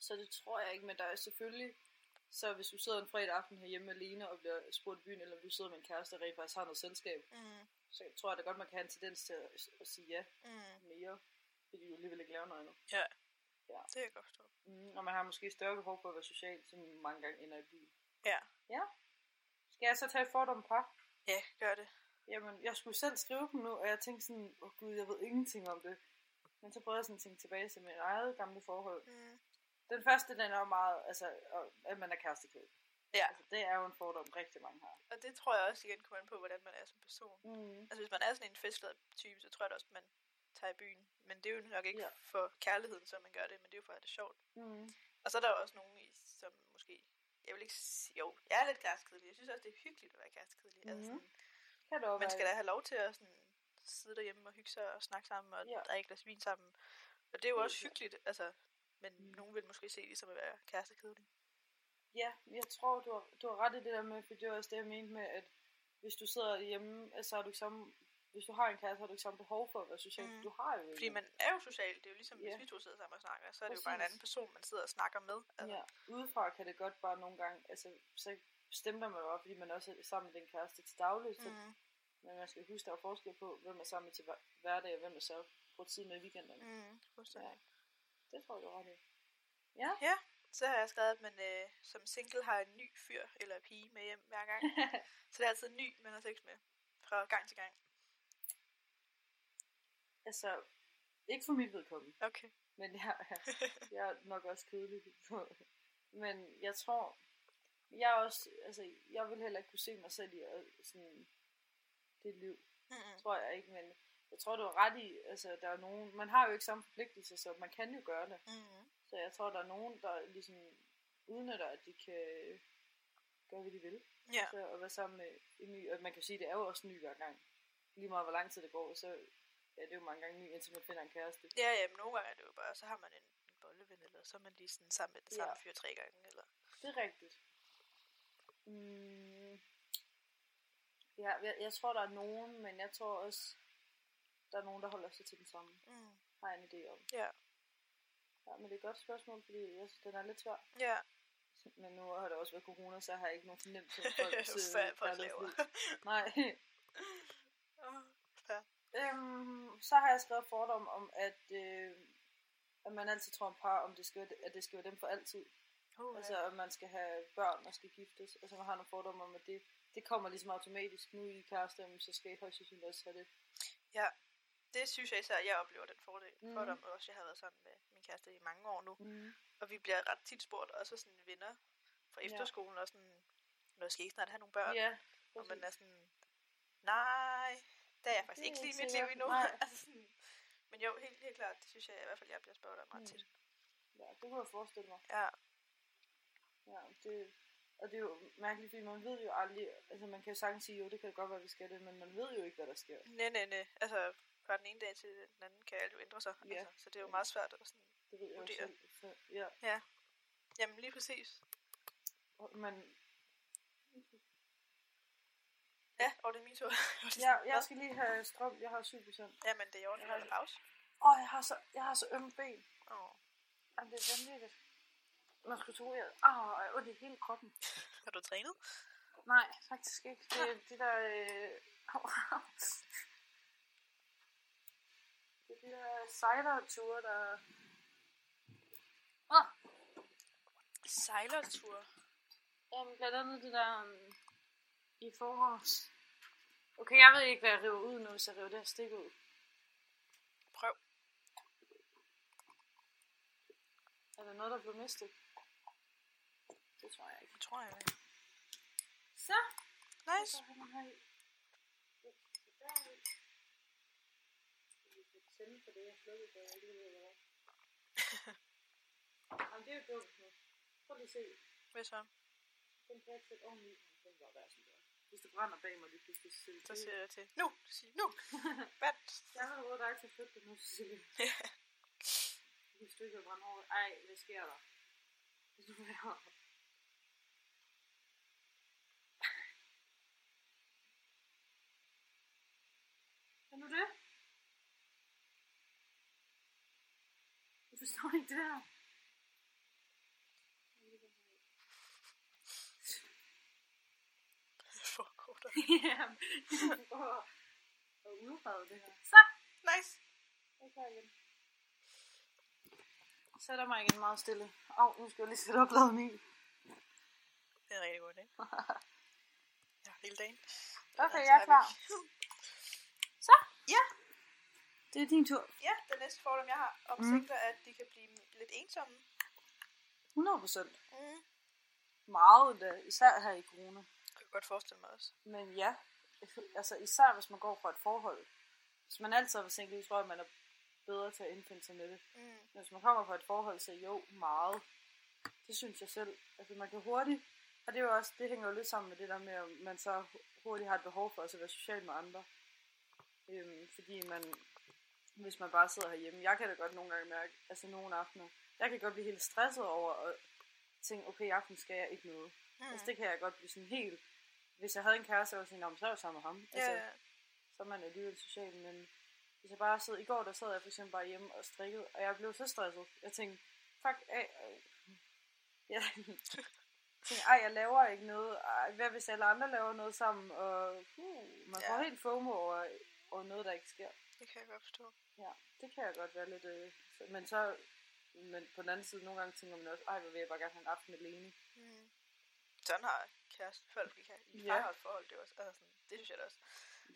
Så det tror jeg ikke, men der er selvfølgelig... Så hvis du sidder en fredag aften herhjemme alene og bliver spurgt i byen, eller om du sidder med en kæreste og rent faktisk har noget selskab,
Mm,
så tror jeg da godt, man kan have en tendens til at, at sige ja
mm.
mere, fordi du alligevel ikke laver noget andet.
Det kan jeg godt forstå.
Mm, og man har måske større behov for at være social, som mange gange ender i byen.
Ja.
Ja. Skal jeg så tage et fordom par?
Ja, gør det.
Jamen, jeg skulle selv skrive dem nu, og jeg tænkte sådan, åh oh, gud, jeg ved ingenting om det. Men så prøvede jeg sådan at tænke tilbage til mit eget gamle forhold.
Mm.
Den første, den er jo meget, altså, og- at man er kærestekøb.
Ja,
Altså, det er jo en fordom, rigtig mange har.
og det tror jeg også igen kommer an på, hvordan man er som person.
Mm.
Altså hvis man er sådan en festlad type, så tror jeg da også, man tager i byen. Men det er jo nok ikke
Ja.
ja. for kærligheden, som man gør det, men det er jo for at have det sjovt.
Mm.
Og så er der jo også nogen, i, som måske... Jeg vil ikke sige, jo, jeg er lidt kærestekedelig. Jeg synes også, det er hyggeligt at være kærestekedelig. Mm-hmm.
Mhm.
Altså, sådan,
Kan det også
man skal da
være.
have lov til at sådan, sidde derhjemme og hygge sig og snakke sammen og
Ja.
ja. drikke et glas vin sammen. Og det er jo
Helt
også
klart.
hyggeligt, altså, men
Mm.
mm. nogen vil måske se det som at være kærestekedelig.
Ja, jeg tror, du har, du har ret i det der med, for det var også det, jeg mente med, at hvis du sidder hjemme, altså har du ikke samme, hvis du har en kæreste, har du ikke samme behov for at være social. Mm.
Mm.
Du har jo ikke.
Fordi man er jo social, det er jo ligesom,
Ja.
hvis vi to sidder sammen og snakker, så er det jo bare en
Præcis.
anden person, man sidder og snakker med. Altså,
Ja, udefra kan det godt bare nogle gange, altså så stemmer man bare, fordi man også er sammen med den kæreste til daglig, så, mm.
Mm,
men man skal huske, der er forskel på, hvem er sammen til hver- hverdag, og hvem er så på tid med i weekenderne. Mm.
mm,
Ja.
fuldstændig.
Det tror jeg, du har ret i.
Så har jeg skrevet, at man øh, som single har en ny fyr eller pige med hjem hver gang. så det er altid en ny, man har sex med. Fra gang til gang.
Altså, ikke for mit vedkommende,
Okay.
men jeg, er- jeg er nok også kedelig. på- men jeg tror, jeg er også, altså, jeg vil heller ikke kunne se mig selv i øh, sådan, det liv.
Mm-mm.
tror jeg ikke, men jeg tror, du har ret i, altså, der er nogen, man har jo ikke samme forpligtelse, så man kan jo gøre det.
Mm-mm.
Så jeg tror, der er nogen, der ligesom udnytter, at de kan gøre, hvad de vil.
Ja.
Så at være sammen med en ny, og man kan jo sige, det er jo også en ny hver gang. Lige meget hvor lang tid det går, så er det jo mange gange ny, indtil man finder en kæreste.
ja, ja, men nogle gange er det jo bare, så har man en, en bolleven, eller så er man lige sådan sammen med den samme
Ja.
fyr tre gange, eller...
Det er rigtigt. Mm. Ja, jeg, jeg tror, der er nogen, men jeg tror også, der er nogen, der holder sig til den samme.
Mm.
Har jeg en idé om.
Ja.
Ja, men det er et godt spørgsmål, fordi jeg synes, den er lidt svær.
Ja,
Men nu har der også været corona, så har jeg ikke nogen fornemmelse af folk
Hvad folk laver.
Nej.
Åh,
Øhm, så har jeg skrevet fordom om, at, øh, at man altid tror om par, om det skal, være- at det skal være dem for altid.
Uha.
Altså, at man skal have børn og skal giftes. Altså, man har nogle fordomme om, at det, det kommer ligesom automatisk nu i kærester, men så skal I højst sandsynligt også have det.
det synes jeg især, at jeg oplever den fordel.
Mm.
Mm. Fordom også, jeg har været sammen med min kæreste i mange år nu.
Mm.
Og vi bliver ret tit spurgt, også af sådan venner fra
Ja.
efterskolen, og sådan, når skal I ikke snart have nogle børn?
Ja.
Og man er sådan, nej, der er jeg faktisk
Det er
ikke lige i
jeg ikke
mit liv
sikker på.
endnu.
Nej.
altså sådan, men jo, helt, helt klart, det synes jeg i hvert fald, jeg bliver spurgt om
Mm.
meget tit.
ja, det kunne jeg forestille mig.
Ja,
Ja, det, og det er jo mærkeligt, fordi man ved jo aldrig, altså man kan jo sagtens sige, jo, det kan godt være, vi skal det, men man ved jo ikke, hvad der sker.
nej, nej, nej. Altså, fra den ene dag til den anden kan alt jo ændre sig.
Ja.
Altså, så det er jo meget svært at sådan,
Det ved jeg jo
Vurdere.
selv. Så, ja,
jamen lige præcis.
og- men
Ja, og det er min tur.
ja, jeg skal lige have strøm. Jeg har 7%.
Jamen, det er jo en
Jeg har-
pause.
Åh, jeg har så, jeg har så ømme ben.
Åh,
Jamen, det er vanvittigt. Man skulle tro, jeg Åh, jeg har ondt i hele kroppen.
har du trænet?
Nej, faktisk ikke. Det er de der... Øh... au, au. Det er de der sejlerture, der... Åh,
Sejlertur.
Jamen, blandt andet det der um, i forårs. Okay, jeg ved ikke, hvad jeg river ud nu, hvis jeg river det her stik ud.
Prøv.
Er der noget, der blev mistet? Det tror jeg ikke.
Det tror jeg.
Så!
Nice.
Så har man her i. Det skal der i. Vi kan tænde for det, jeg slukkede, da jeg lige ved, hvad det var. Jamen, det er jo dumt nu. Prøv lige at se.
Hvad så?
Den kan jeg sætte oveni. Den var værd, som det var. Hvis det brænder bag mig, lige pludselig så
Så siger jeg til. Nu! Sig nu! Hvad?
Jeg har råd dig til at flytte det nu, Cecilie. Hvis du ikke vil brænde over. Ej, hvad sker der? Hvis du vil have-
forstår ikke det her.
Hvad foregår der?
ja, vi prøver at- at udrede det her. Så,
Nice.
det er klar igen.
Så er der mig igen meget stille. Åh, oh, nu skal jeg lige sætte opladen i.
Det er en rigtig god dag. ja, hele dagen.
Okay, jeg er klar. Så,
Det er din tur.
Ja, den næste fordom, jeg har om
Mm.
singler, er, at de kan blive lidt ensomme.
100%.
Mm.
Meget, da, især her i corona.
Jeg kan godt forestille mig også.
Men ja, altså især hvis man går fra et forhold. Hvis man altid har været single, så tror jeg, man er bedre til at indfinde sig med det.
Mm.
Men hvis man kommer fra et forhold, så jo, meget. Det synes jeg selv. Altså man kan hurtigt, og det, er jo også, det hænger jo lidt sammen med det der med, at man så hurtigt har et behov for også at være social med andre. Øhm, fordi man, hvis man bare sidder herhjemme, jeg kan da godt nogle gange mærke, altså nogle aftener, jeg kan godt blive helt stresset over at tænke, okay, i aften skal jeg ikke noget. Mm. Altså det kan jeg godt blive sådan helt, hvis jeg havde en kæreste, så var jeg sådan, "Nå, men så er jeg jo sammen med ham.
Ja,
Altså,
ja.
så er man alligevel social, men hvis jeg bare sidder, i går der sad jeg for eksempel bare hjemme og strikkede, og jeg blev så stresset. Jeg tænkte, fuck af, øh. jeg tænkte, ej, jeg laver ikke noget, ej, hvad hvis alle andre laver noget sammen, og uh, man får
Ja.
helt FOMO over, over noget, der ikke sker.
det kan jeg godt forstå.
Ja, det kan jeg godt være lidt, øh, så- men så, men på den anden side, nogle gange tænker man også, ej, hvor vil jeg bare gerne have en aften alene.
Mm. Sådan har kæreste folk, vi kan. I
Ja.
ja. forhold, det er også. Altså sådan, det synes jeg da også.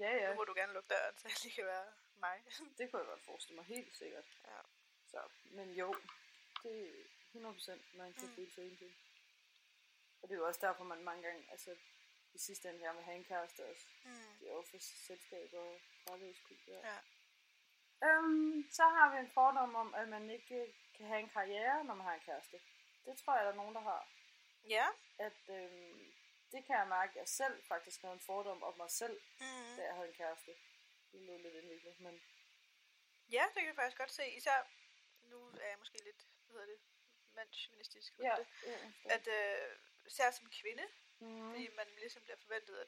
Ja,
Ja.
ja,
Nu må du gerne lukke døren, så jeg lige kan være mig.
det kunne jeg godt forestille mig, helt sikkert.
Ja.
Så, men jo, det er 100% man kan
Mm.
føle sig ensom. Og det er jo også derfor, man mange gange, altså i sidste ende gerne vil have en kæreste også.
mm.
altså, Det er jo for selskaber og kærlighedskultur.
Ja.
Øhm, så har vi en fordom om, at man ikke øh, kan have en karriere, når man har en kæreste. Det tror jeg, der er nogen, der har.
Ja.
At, øhm, det kan jeg mærke, at jeg selv faktisk havde en fordom om mig selv,
Mm.
da jeg havde en kæreste. Det lød lidt indviklet, men
Ja, det kan jeg faktisk godt se. Især nu er jeg måske lidt, hvad hedder det, mandsjuvenistisk.
ja.
Det,
ja.
at øh, især som kvinde,
mm.
fordi man ligesom bliver forventet, at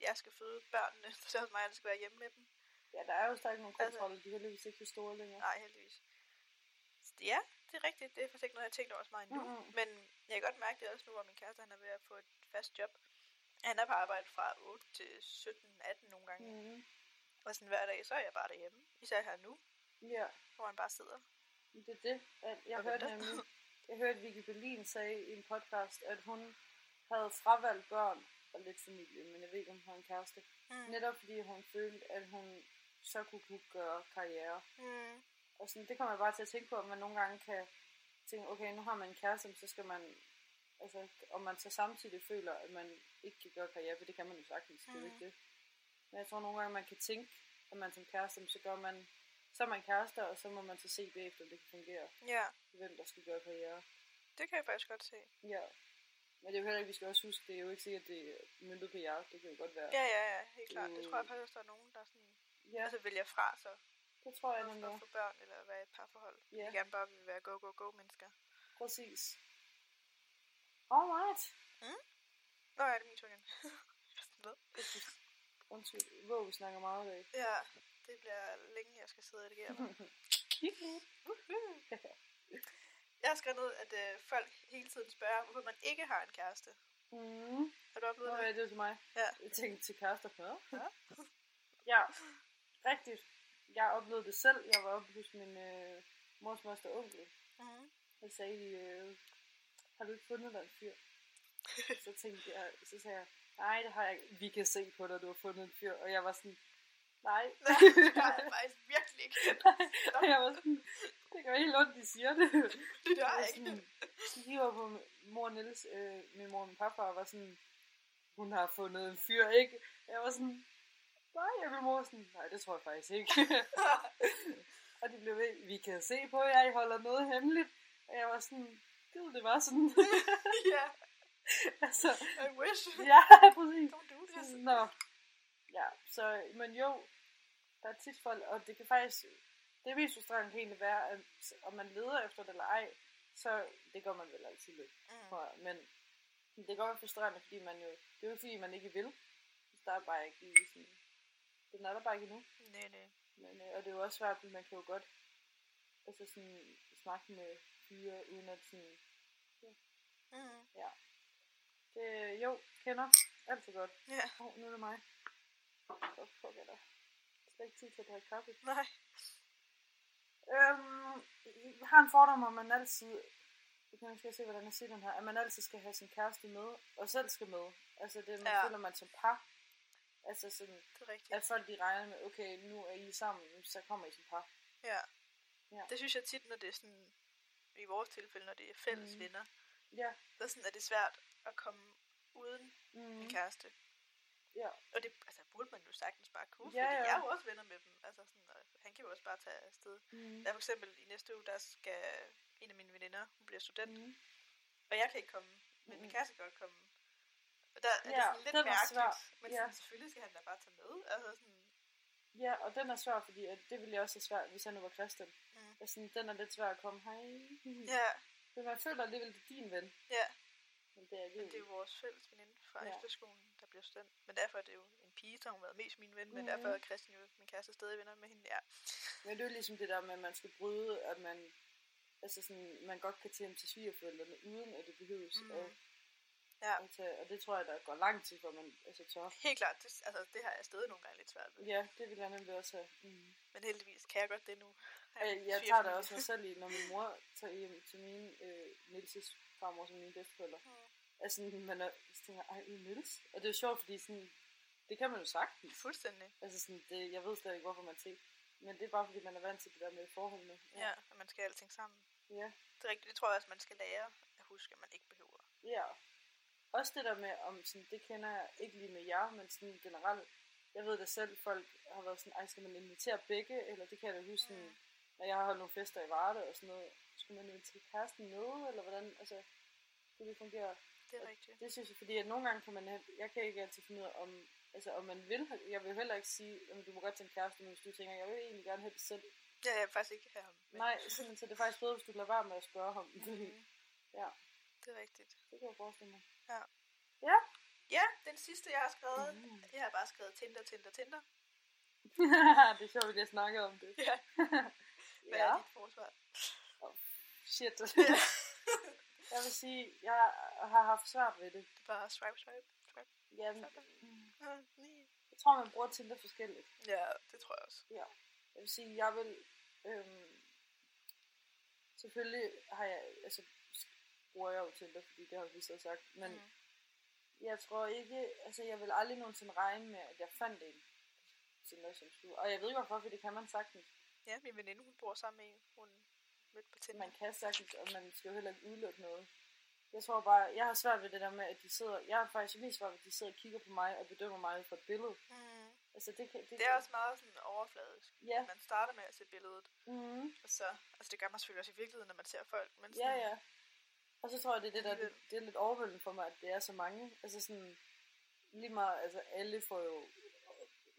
jeg skal føde børnene, så det er også mig, der skal være hjemme med dem.
Ja, der er jo stadig nogle
Altså-
kontroller, de er heldigvis ikke så store længere.
Nej, heldigvis. Så det- Ja, det er rigtigt. Det er faktisk ikke noget, jeg har tænkt over så meget endnu.
Mhm.
Mm-hmm. Men jeg kan godt mærke det også nu, hvor min kæreste han er ved at få et fast job. Han er på arbejde fra 8 til 17, 18 nogle gange. Mm.
Mm.
Og sådan hver dag, så er jeg bare derhjemme. Især her nu,
Ja,
hvor han bare sidder.
men det er det. At jeg
Og
hørte
venter.
nemlig, jeg hørte Vicky Berlin sagde i en podcast, at hun havde fravalgt børn og lidt familie, men jeg ved ikke, om hun har en kæreste.
Mm.
Netop fordi hun følte, at hun så kunne, kunne gøre karriere.
Mm.
Og sådan, det kommer jeg bare til at tænke på, at man nogle gange kan tænke, okay, nu har man en kæreste, men så skal man, altså, om man så samtidig føler, at man ikke kan gøre karriere, for det kan man jo sagtens, det er jo
Mhm.
ikke det. Men jeg tror nogle gange, man kan tænke, at man som kæreste, men så gør man, så er man kærester, og så må man så se bagefter, om det kan fungere,
Ja,
hvem der skal gøre karriere.
det kan jeg faktisk godt se.
Ja. Men det er jo heller ikke, vi skal også huske, det er jo ikke sikkert, at det er myndet på jer, det kan jo godt være.
Ja, ja, ja, helt klart. Det tror jeg
Mm.
faktisk, også, der er nogen, der sådan,
ja
altså vælger fra så
det tror jeg
for
nemlig.
at få børn eller være i et parforhold.
Ja.
Ja. De gerne bare vil være go, go, go mennesker.
Præcis. Alright.
Nå, ja, det er min tur igen. Hvad?
Undskyld, hvor vi snakker meget i dag.
ja, det bliver længe, jeg skal sidde og redigere mig. Jeg har skrevet ned, at øh, folk hele tiden spørger, hvorfor man ikke har en kæreste.
mm.
Har du oplevet
Nå,
det?
ja, det var til mig.
Ja.
Jeg tænkte til kærester før.
Ja.
ja, rigtigt. Jeg oplevede det selv. Jeg var oppe hos min øh, mors moster og onkel.
Mm-hmm.
Og sagde de, øh, har du ikke fundet dig en fyr? så tænkte jeg, så sagde jeg, nej, det har jeg ikke. Vi kan se på dig, du har fundet en fyr. Og jeg var sådan, nej.
Nej, det har jeg faktisk virkelig ikke.
Og jeg var sådan, det gør helt ondt, de siger det.
Det har
var
jeg ikke.
sådan- De var på mor Niels, øh, min mor og min papfar, var sådan, hun har fundet en fyr, ikke? Jeg var sådan, nej, jeg vil mor sådan, nej, det tror jeg faktisk ikke. og de blev ved, vi kan se på jer, I holder noget hemmeligt. Og jeg var sådan, gud, det var sådan.
ja,
altså,
I wish.
ja, præcis.
Don't do
Så
this.
sådan, Nå. Ja, så, men jo, der er tit folk, og det kan faktisk, det mest frustrerende kan egentlig være, at om man leder efter det eller ej, så det gør man vel altid lidt,
Mm.
tror jeg. Men det kan godt være frustrerende, fordi man jo, det er jo ikke fordi, man ikke vil. Der er bare ikke lige sådan, den er
Mm,
der bare ikke endnu.
Nej, nej.
Men, øh, og det er jo også svært, fordi man kan jo godt, altså sådan, snakke med fyre, uden at sådan,
Mm.
det, Øh, jo, kender, alt for godt.
Ja.
Åh, oh, nu er det mig. Hvor fuck er der? Slet ikke tid til at drikke kaffe.
Nej.
Øhm, jeg har en fordom om, at man altid, jeg kan måske se, hvordan jeg siger den her, at man altid skal have sin kæreste med, og selv skal med. Altså det, man
Ja.
ja. føler man som par. Altså sådan,
Det er rigtigt.
at folk de regner med, okay, nu er I sammen, så kommer I som par.
Ja.
Ja.
Det synes jeg tit, når det er sådan, i vores tilfælde, når det er fælles
Mm.
mm. venner,
Ja.
så sådan, er det svært at komme uden mm.
Mm.
en kæreste.
Ja.
Og det altså, burde man jo sagtens bare kunne,
Ja,
ja, fordi
ja.
ja. jeg er jo også venner med dem. Altså, sådan, og han kan jo også bare tage afsted.
Mm.
Der er for eksempel i næste uge, der skal en af mine veninder, hun bliver student, mm.
Mm.
og jeg kan ikke komme, men min
Mm.
kæreste kan godt komme. Og der er ja,
Ja,
det sådan
den er
lidt mærkeligt,
svær.
men
Ja.
sådan, selvfølgelig skal han da bare tage med. Altså sådan,
Ja, og den er svær, fordi at det ville jeg også have svært, hvis jeg nu var Christian.
Mm.
Mm. Sådan, den er lidt svær at komme, hej.
ja,
Men man føler alligevel, det er din ven.
ja.
Men det
Men det
er
er
alligevel.
jo vores fælles veninde fra
Mm. Ja.
ja. efterskolen, der blev student. Men derfor er det jo en pige, så hun har været mest min ven, men
Mhm.
derfor er Christian jo min kæreste stadig venner med hende. Ja,
Men det er jo ligesom det der med, at man skal bryde, at man, altså sådan, man godt kan tage hjem til svigerforældrene, uden at det behøves.
Mhm.
Mm. At,
Ja.
at tage, og det tror jeg, der går lang tid, hvor man altså tør.
helt klart. Det, altså, det har jeg stadig nogle gange lidt svært ved.
Ja, det vil jeg nemlig også have. Mm.
Men heldigvis kan jeg godt det nu. har
Øh, Jeg, jeg
fire
tager da
familier.
også mig selv i, når min mor tager hjem til mine øh, Nilses farmor, som mine bedsteforældre.
Mm.
Altså, man er, så tænker, jeg, ej, Nils. Og det er jo sjovt, fordi sådan, det kan man jo sagtens.
Fuldstændig.
Altså sådan, det, jeg ved slet ikke, hvorfor man tænker. Men det er bare, fordi man er vant til det der med forholdene.
Ja. ja, og man skal have alting sammen.
Ja.
Det er rigtigt. Det tror jeg også, man skal lære at huske, at man ikke behøver.
ja. Også det der med, om sådan, det kender jeg ikke lige med jer, men sådan generelt. Jeg ved da selv, folk har været sådan, ej, skal man invitere begge? Eller det kan jeg da huske, sådan,
Mm.
når jeg har holdt nogle fester i Varde og sådan noget. Skulle man invitere kæresten med, eller hvordan, altså, det vil fungere.
Det er
Og
rigtigt.
Det synes jeg, fordi at nogle gange kan man, have- jeg kan ikke altid finde ud af, om, altså, om man vil, have- jeg vil jo heller ikke sige, at du må godt tage en kæreste, men hvis du tænker, jeg vil egentlig gerne have det selv.
Ja, jeg vil faktisk ikke have ham. men-
Nej, sådan, så det er faktisk bedre, hvis du lader være med at spørge ham.
Mhm.
Ja.
Det er rigtigt.
det kan jeg forestille mig.
Ja, den sidste, jeg har skrevet,
Mm.
jeg har bare skrevet Tinder, Tinder, Tinder.
det er sjovt, at jeg snakkede om det.
Ja. Hvad
ja.
er dit forsvar?
Shit.
Ja.
jeg vil sige, jeg har haft svært ved det.
Det er bare swipe, swipe, swipe.
Jamen,
Ah, nej.
jeg tror, man bruger Tinder forskelligt.
Ja, det tror jeg også.
Jeg vil sige, jeg vil... Øhm, selvfølgelig har jeg... Altså, bruger jeg jo Tinder, fordi det har vi lige så sagt. Men
Mm.
jeg tror ikke... Altså, jeg vil aldrig nogensinde regne med, at jeg fandt en Tinder, som skulle... Og jeg ved ikke hvorfor, for det kan man sagtens.
Ja, min veninde, hun bor sammen med en, hun mødte på Tinder.
Man kan sagtens, og man skal jo heller ikke udelukke noget. Jeg tror bare, jeg har svært ved det der med, at de sidder... Jeg har faktisk mest svært ved, at de sidder og kigger på mig og bedømmer mig ud fra et billede.
Mm.
Altså, det kan...
Det er også meget sådan overfladisk.
Ja.
Man starter med at se billedet,
Mm-hmm.
og så... Altså, det gør man selvfølgelig også i virkeligheden, når man ser folk, men
Ja,
sådan,
ja. Og så tror jeg, det er det, der, det,
Alligevel.
det er lidt overvældende for mig, at det er så mange. Altså sådan, lige meget, altså alle får jo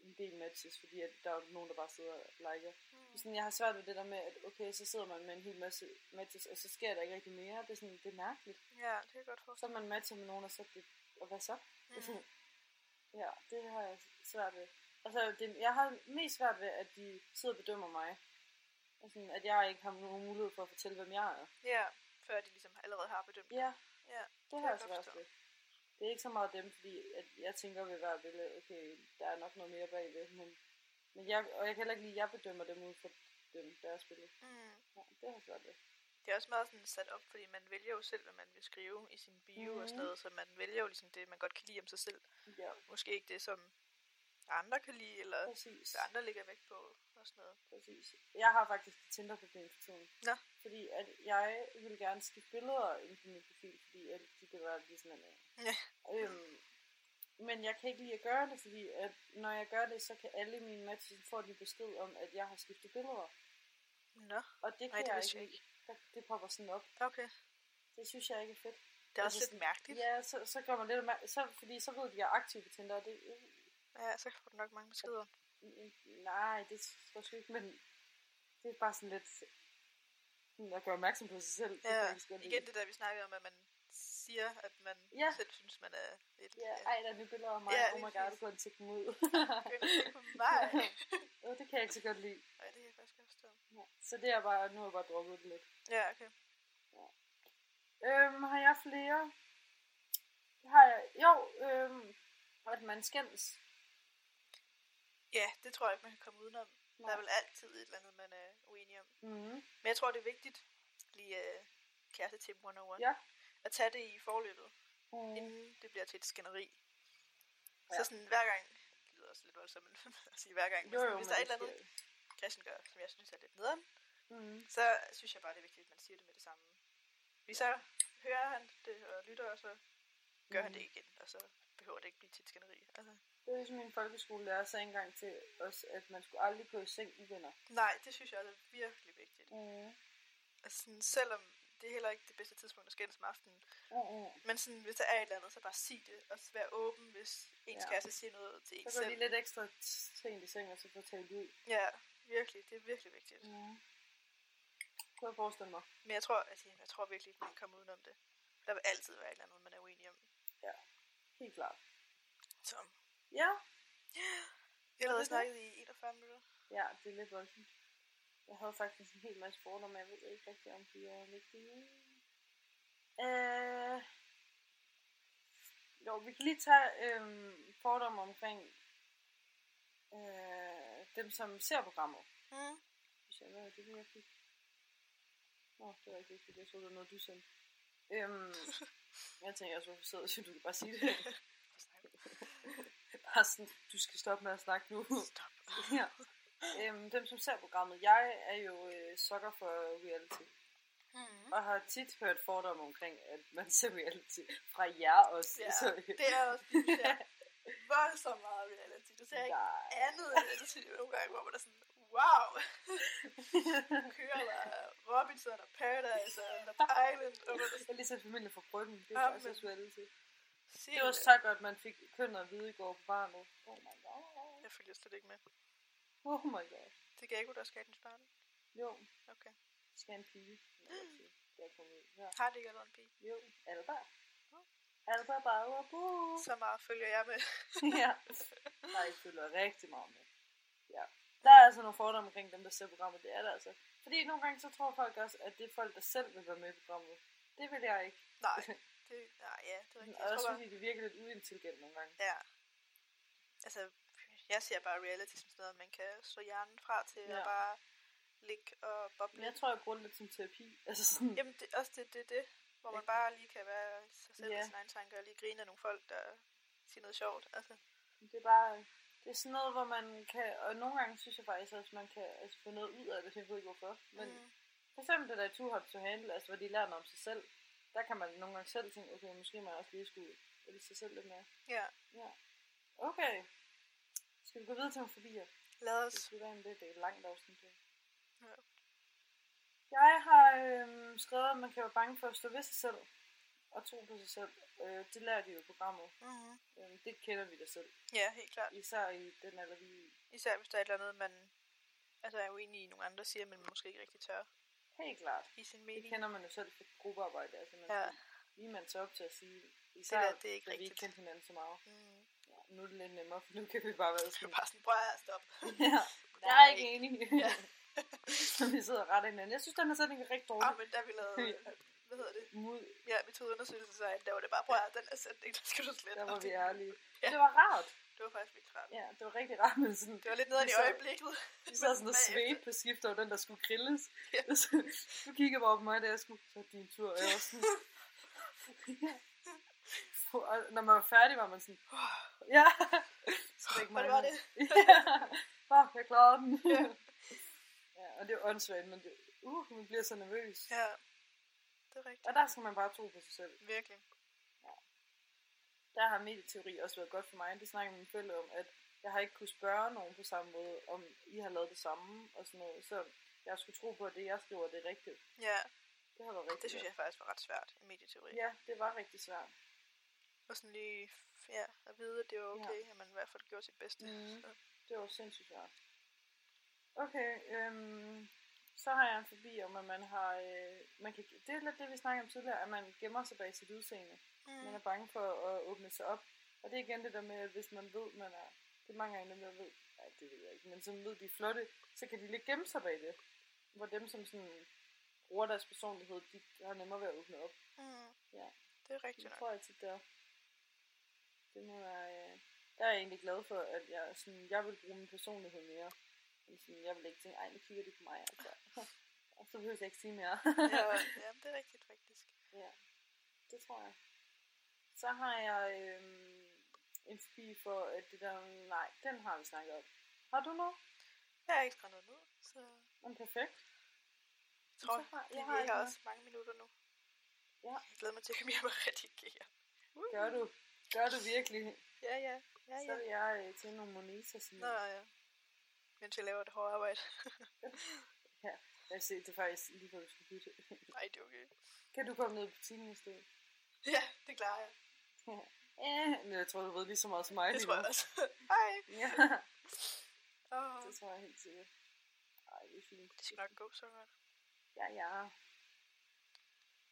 en del matches, fordi at der er jo nogen, der bare sidder og liker.
Mm.
Så Sådan, jeg har svært ved det der med, at okay, så sidder man med en hel masse matches, og så sker der ikke rigtig mere. Det er sådan, det er mærkeligt.
ja, det kan jeg godt
Så
forstå.
er man matcher med nogen, og så er det, og hvad så?
Mm.
ja, det har jeg svært ved. Altså, det, jeg har mest svært ved, at de sidder og bedømmer mig. Altså, at jeg ikke har nogen mulighed for at fortælle, hvem jeg er.
Ja, før de ligesom allerede har bedømt.
Ja.
Ja,
Det
kan
har
jeg godt
jeg svært
forstå.
ved. Det er ikke så meget dem, fordi at jeg tænker ved hver billede, okay, der er nok noget mere bagved, men, men jeg, og jeg kan heller ikke lide, at jeg bedømmer dem ud fra dem, deres billede.
Mm.
Ja, det har jeg svært ved.
Det er også meget sådan sat op, fordi man vælger jo selv, hvad man vil skrive i sin bio mm. og
Mhm.
sådan noget, så man vælger jo ligesom det, man godt kan lide om sig selv.
Ja,
Måske ikke det, som andre kan lide, eller
præcis.
hvad andre lægger vægt på og sådan noget.
præcis. Jeg har faktisk et Tinder-problem for tiden.
Nå.
Fordi at jeg ville gerne skifte billeder ind på min profil, fordi at de kan være lige sådan en
Ja.
øhm, men jeg kan ikke lide at gøre det, fordi at når jeg gør det, så kan alle mine matches få en besked om, at jeg har skiftet billeder.
Nå,
Og det kan
nej, det
jeg
vidste jeg
ikke lide.
ikke.
Der- det popper sådan op.
Okay.
Det synes jeg ikke er fedt.
Det er også
Altså
lidt mærkeligt.
Ja, så, så gør man lidt opmær- så, fordi så ved de, at jeg er aktiv på Tinder, og det,
Ja, så får du nok mange beskeder.
øh, nej, det tror jeg ikke, men det er bare sådan lidt sådan at gøre opmærksom på sig selv. Det kan jeg
Ja,
ikke så godt lide.
igen det der, vi snakkede om, at man siger, at man
Ja.
ja. selv synes, man er et...
Ja, ej, der er nye billeder af mig.
Ja,
Ja, oh
lige
my god,
præcis.
gå en tæt ud.
begynder at tænke på mig.
Åh, det kan jeg ikke så godt lide.
Ej, det kan jeg faktisk godt forstå.
Så det er bare, nu har jeg bare drukket det lidt.
Ja, okay.
Øhm, har jeg flere? Det Har jeg? Jo, øhm, at man skændes.
Ja, det tror jeg ikke, man kan komme udenom. Der er
Nej.
vel altid et eller andet, man er uenig om.
Mm-hmm.
Men jeg tror, det er vigtigt, lige øh, kæreste tip 101,
Ja.
at tage det i forløbet,
Mm.
inden det bliver til et skænderi.
Ja.
Så sådan hver gang, det lyder også lidt voldsomt men at sige hver gang, men
Jo,
sådan,
jo,
hvis
men
der er et
det
eller andet, Christian gør, som jeg synes er lidt nederen,
Mm.
så synes jeg bare, det er vigtigt, at man siger det med det samme. Fordi så hører han det og lytter, og så gør mm. han
Mhm.
det igen, og så behøver det ikke blive til et skænderi. Altså,
Det er ligesom min folkeskolelærer sagde engang til os, at man skulle aldrig gå i seng uvenner.
nej, det synes jeg også er virkelig vigtigt.
Mm.
Altså, sådan, selvom det er heller ikke det bedste tidspunkt at skændes om aftenen,
Mm-mm.
men sådan, hvis der er et eller andet, så bare sig det, og så vær åben, hvis ens
Ja.
ja. kæreste siger noget til en
Så går lige
selv.
lidt ekstra sent i seng, og så får talt ud.
Ja, virkelig, det er virkelig vigtigt.
Mm. Kunne jeg forestille mig.
Men jeg tror, altså, jeg tror virkelig ikke, man kan komme udenom det. Der vil altid være et eller andet, man er uenig om.
Helt klart.
Så.
Ja.
Jeg har
det
snakket i 41 minutter.
Ja, det er lidt voldsomt. Jeg havde faktisk en hel masse fordomme, jeg ved ikke rigtig, om de er vigtige. Øh... Jo, vi kan lige tage øh, fordomme omkring øh, dem, som ser programmet.
Mm.
Hvis jeg, hvad er det, det, jeg fik? Nå, det var ikke vigtigt. Jeg troede, det var noget, du sendte. Øhm, jeg tænker også, hvorfor sidder du? Du kan bare sige det. bare sådan, du skal stoppe med at snakke nu.
Stop.
ja. Øhm, dem, som ser programmet. Jeg er jo øh, sukker for reality.
Mm.
Og har tit hørt fordomme omkring, at man ser reality fra jer også.
Ja,
så,
Det er også, fordi du ser voldsomt meget reality. Du ser ikke
Nej.
andet end reality nogle gange, hvor man er sådan, wow, nu kører der Robinson og Paradise og Love Island, og man er
Jeg har lige set familie fra Bryggen. Det er
Jamen.
også også reality.
sådan,
Det var så godt, man fik kønner at vide i går på barnet. Oh my god.
Jeg følger slet ikke med.
Oh my god.
Det gav ikke, der skal den starte.
Jo.
Okay.
skal en pige. Det er kommet ud her.
Har det ikke allerede en pige?
Jo, Alba.
Nå.
Alba bare bu.
Så meget følger jeg med.
ja. Nej, jeg følger rigtig meget med. Ja. Der er altså nogle fordomme omkring dem, der ser programmet. Det er der altså. Fordi nogle gange så tror folk også, at det er folk, der selv vil være med i programmet. Det vil jeg ikke.
Nej, det, nej, ja, det er rigtigt.
Og
Jeg
også
tror bare,
fordi det virker lidt uintelligent nogle gange.
ja. Altså, jeg ser bare reality som sådan noget, man kan slå hjernen fra til ja.
Ja.
at bare ligge og boble.
Men jeg tror, jeg bruger det lidt som terapi. Altså sådan,
Jamen, det, også det, det, det, hvor man
Ja.
bare lige kan være sig selv yeah.
Ja.
og sine egne tanker, og lige grine af nogle folk, der siger noget sjovt. Altså,
det er bare... Det er sådan noget, hvor man kan... Og nogle gange synes jeg faktisk også, at man kan altså, få noget ud af det. Jeg ved ikke hvorfor. Men
mm.
For eksempel det der Too Hot to Handle, altså hvor de lærer noget om sig selv. Der kan man nogle gange selv tænke, okay, måske man også lige skulle elske sig selv lidt mere.
ja,
Okay. Skal vi gå videre til nogle fobier?
lad
Det
os.
skal være en lidt det er et langt afsnit. det her.
Ja.
Jeg har øh, skrevet, at man kan være bange for at stå ved sig selv og tro på sig selv. Øh, det lærer de jo i programmet.
Mm-hmm.
Øh, det kender vi da selv.
Ja, helt klart.
Især i den alder, vi er i.
Især hvis der er et eller andet, man altså, er uenig i, nogle andre siger, men man måske ikke rigtig tør
Helt klart.
i sin
Det
mening.
kender man jo selv fra gruppearbejde. Altså, man
Ja.
ja. Lige man så op til at sige, især
der, det er ikke
da vi ikke
rigtigt.
kendte hinanden så meget.
Mm.
Ja, nu er det lidt nemmere, for nu kan vi bare være
Det er
sådan.
bare sådan, prøv at stop.
Ja, jeg er ikke enig. Ja. vi sidder og retter hinanden. Jeg synes, den her sætning er rigtig dårlig.
Ah, men der vi lavede, hvad hedder det?
Mod,
Ja, metodeundersøgelse, så der var det bare, prøv at den er sætning, der skal du slette.
der var
Og
vi
det-
ærlige.
Ja.
Det var rart.
Det var faktisk vildt rart.
Ja, det var rigtig rart, men sådan,
Det var lidt nederen
Vi
i
sad-
øjeblikket.
vi sad sådan og
bagefter-
svedte på skift over den, der skulle grilles.
altså. Ja.
Så, du kigger bare på mig, da jeg skulle, så er det din tur. Og jeg var sådan, ja. Og når man var færdig, var man sådan, ja. Så fik
Og
man
det var det.
ja. Bare, jeg klarede den. ja, og det er åndssvagt, men det, uh, man bliver så nervøs.
Ja, det er rigtigt.
Og der skal man bare tro på sig selv.
Virkelig.
Der har medieteori også været godt for mig. Det snakker mine forældre om, at jeg har ikke kunnet spørge nogen på samme måde, om I har lavet det samme og sådan noget. Så jeg skulle tro på, at det, jeg skriver, det er rigtigt.
Ja,
Det har været rigtigt.
det synes jeg faktisk var ret svært i medieteori.
Ja, det var rigtig svært.
Og sådan lige f- ja, at vide, at det var okay, at man i hvert fald gjorde sit bedste.
Mhm.
Så, mm,
Det var sindssygt svært. Okay, øhm, så har jeg en forbi om, at man har... Øh, man kan, det er lidt det, vi snakkede om tidligere, at man gemmer sig bag sit udseende. Man er
mm.
bange for at åbne sig op. Og det er igen det der med, at hvis man ved, man er... Det er mange gange dem, der ved... Ja, det ved jeg ikke, men som ved, de er flotte, så kan de lidt gemme sig bag det. hvor dem, som sådan bruger deres personlighed, de har nemmere ved at åbne op.
Mm.
Ja.
Det er rigtigt
Det
nok.
tror jeg tit, der. Det må være, øh, der er jeg egentlig glad for, at jeg, sådan, jeg vil bruge min personlighed mere. Men Sådan, jeg vil ikke tænke, ej, nu kigger de på mig, altså. Og så behøver jeg ikke sige mere.
ja, ja, det er rigtigt faktisk.
Det tror jeg. Så har jeg øhm, en fobi for at det der... Nej, den har vi snakket om. Har du noget?
Jeg har ikke skrevet noget ned, så
En perfekt?
jeg tror,
Så har-
jeg,
jeg
jeg
har
har,
ikke
også mange minutter nu.
Ja.
Jeg glæder mig til at komme hjem og redigere. Uh.
Gør du? Gør du virkelig?
Ja, ja. ja,
Så
ja.
vil jeg øh, til nogle moniser. Sådan.
Nå, ja. Mens jeg laver et hårdt arbejde.
Lad os se, det er faktisk lige hvor du skal bytte.
Nej, det er okay.
Kan du komme ned i butikken i stedet?
Ja, det klarer jeg.
Ja, men jeg tror, du ved lige så meget som mig.
Det
lige
tror
nu.
jeg også. Hej.
Ja,
Oh,
det tror jeg helt sikkert. Ej, det er fint.
det skal nok gå så godt.
Ja, ja.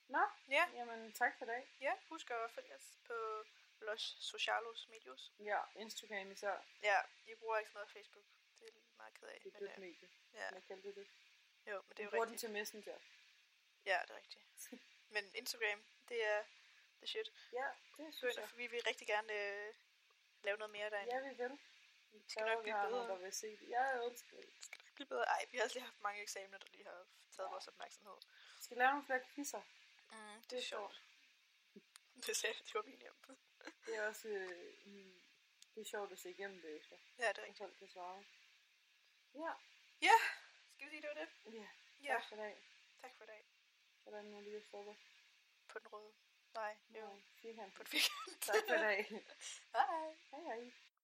Nå,
Ja,
jamen tak for i dag.
ja. Husk at følge os på Los Socialos Medios.
Ja, Instagram især.
Ja, jeg bruger ikke sådan noget Facebook. Det er jeg meget ked af.
Det er
Men,
dødt
øh,
medie.
ja,
Jeg kaldte det det.
jo, men det er
Jeg
jo
bruger den
rigtigt.
til Messenger.
Ja, det er rigtigt. Men Instagram, det er the shit.
Ja, det
Gå
synes
ind,
jeg.
og- vi vil rigtig gerne øh, lave noget mere derinde.
Ja, vi vil. Vi
skal
kræver,
nok
vi
blive
har
bedre.
nogen, der vil se det. Jeg elsker det.
Det skal nok blive bedre. Ej, vi har også lige haft mange eksamener, der lige har taget vores opmærksomhed.
Vi skal lave nogle flere quizzer.
Mm, det, er
Det er
sjovt. Det sagde jeg, det var min hjem.
Det er også øh, mm, det er sjovt at se igennem det efter,
Ja, det er
og
rigtigt.
folk kan svare. Ja,
Skal vi sige, det var det?
ja.
Ja,
Tak for i dag.
tak for i dag.
Hvordan er det, jeg stopper?
På den røde. Nej, jo.
Ja, firkant.
På den fik.
Tak for i dag.
Hej.
Hej hej.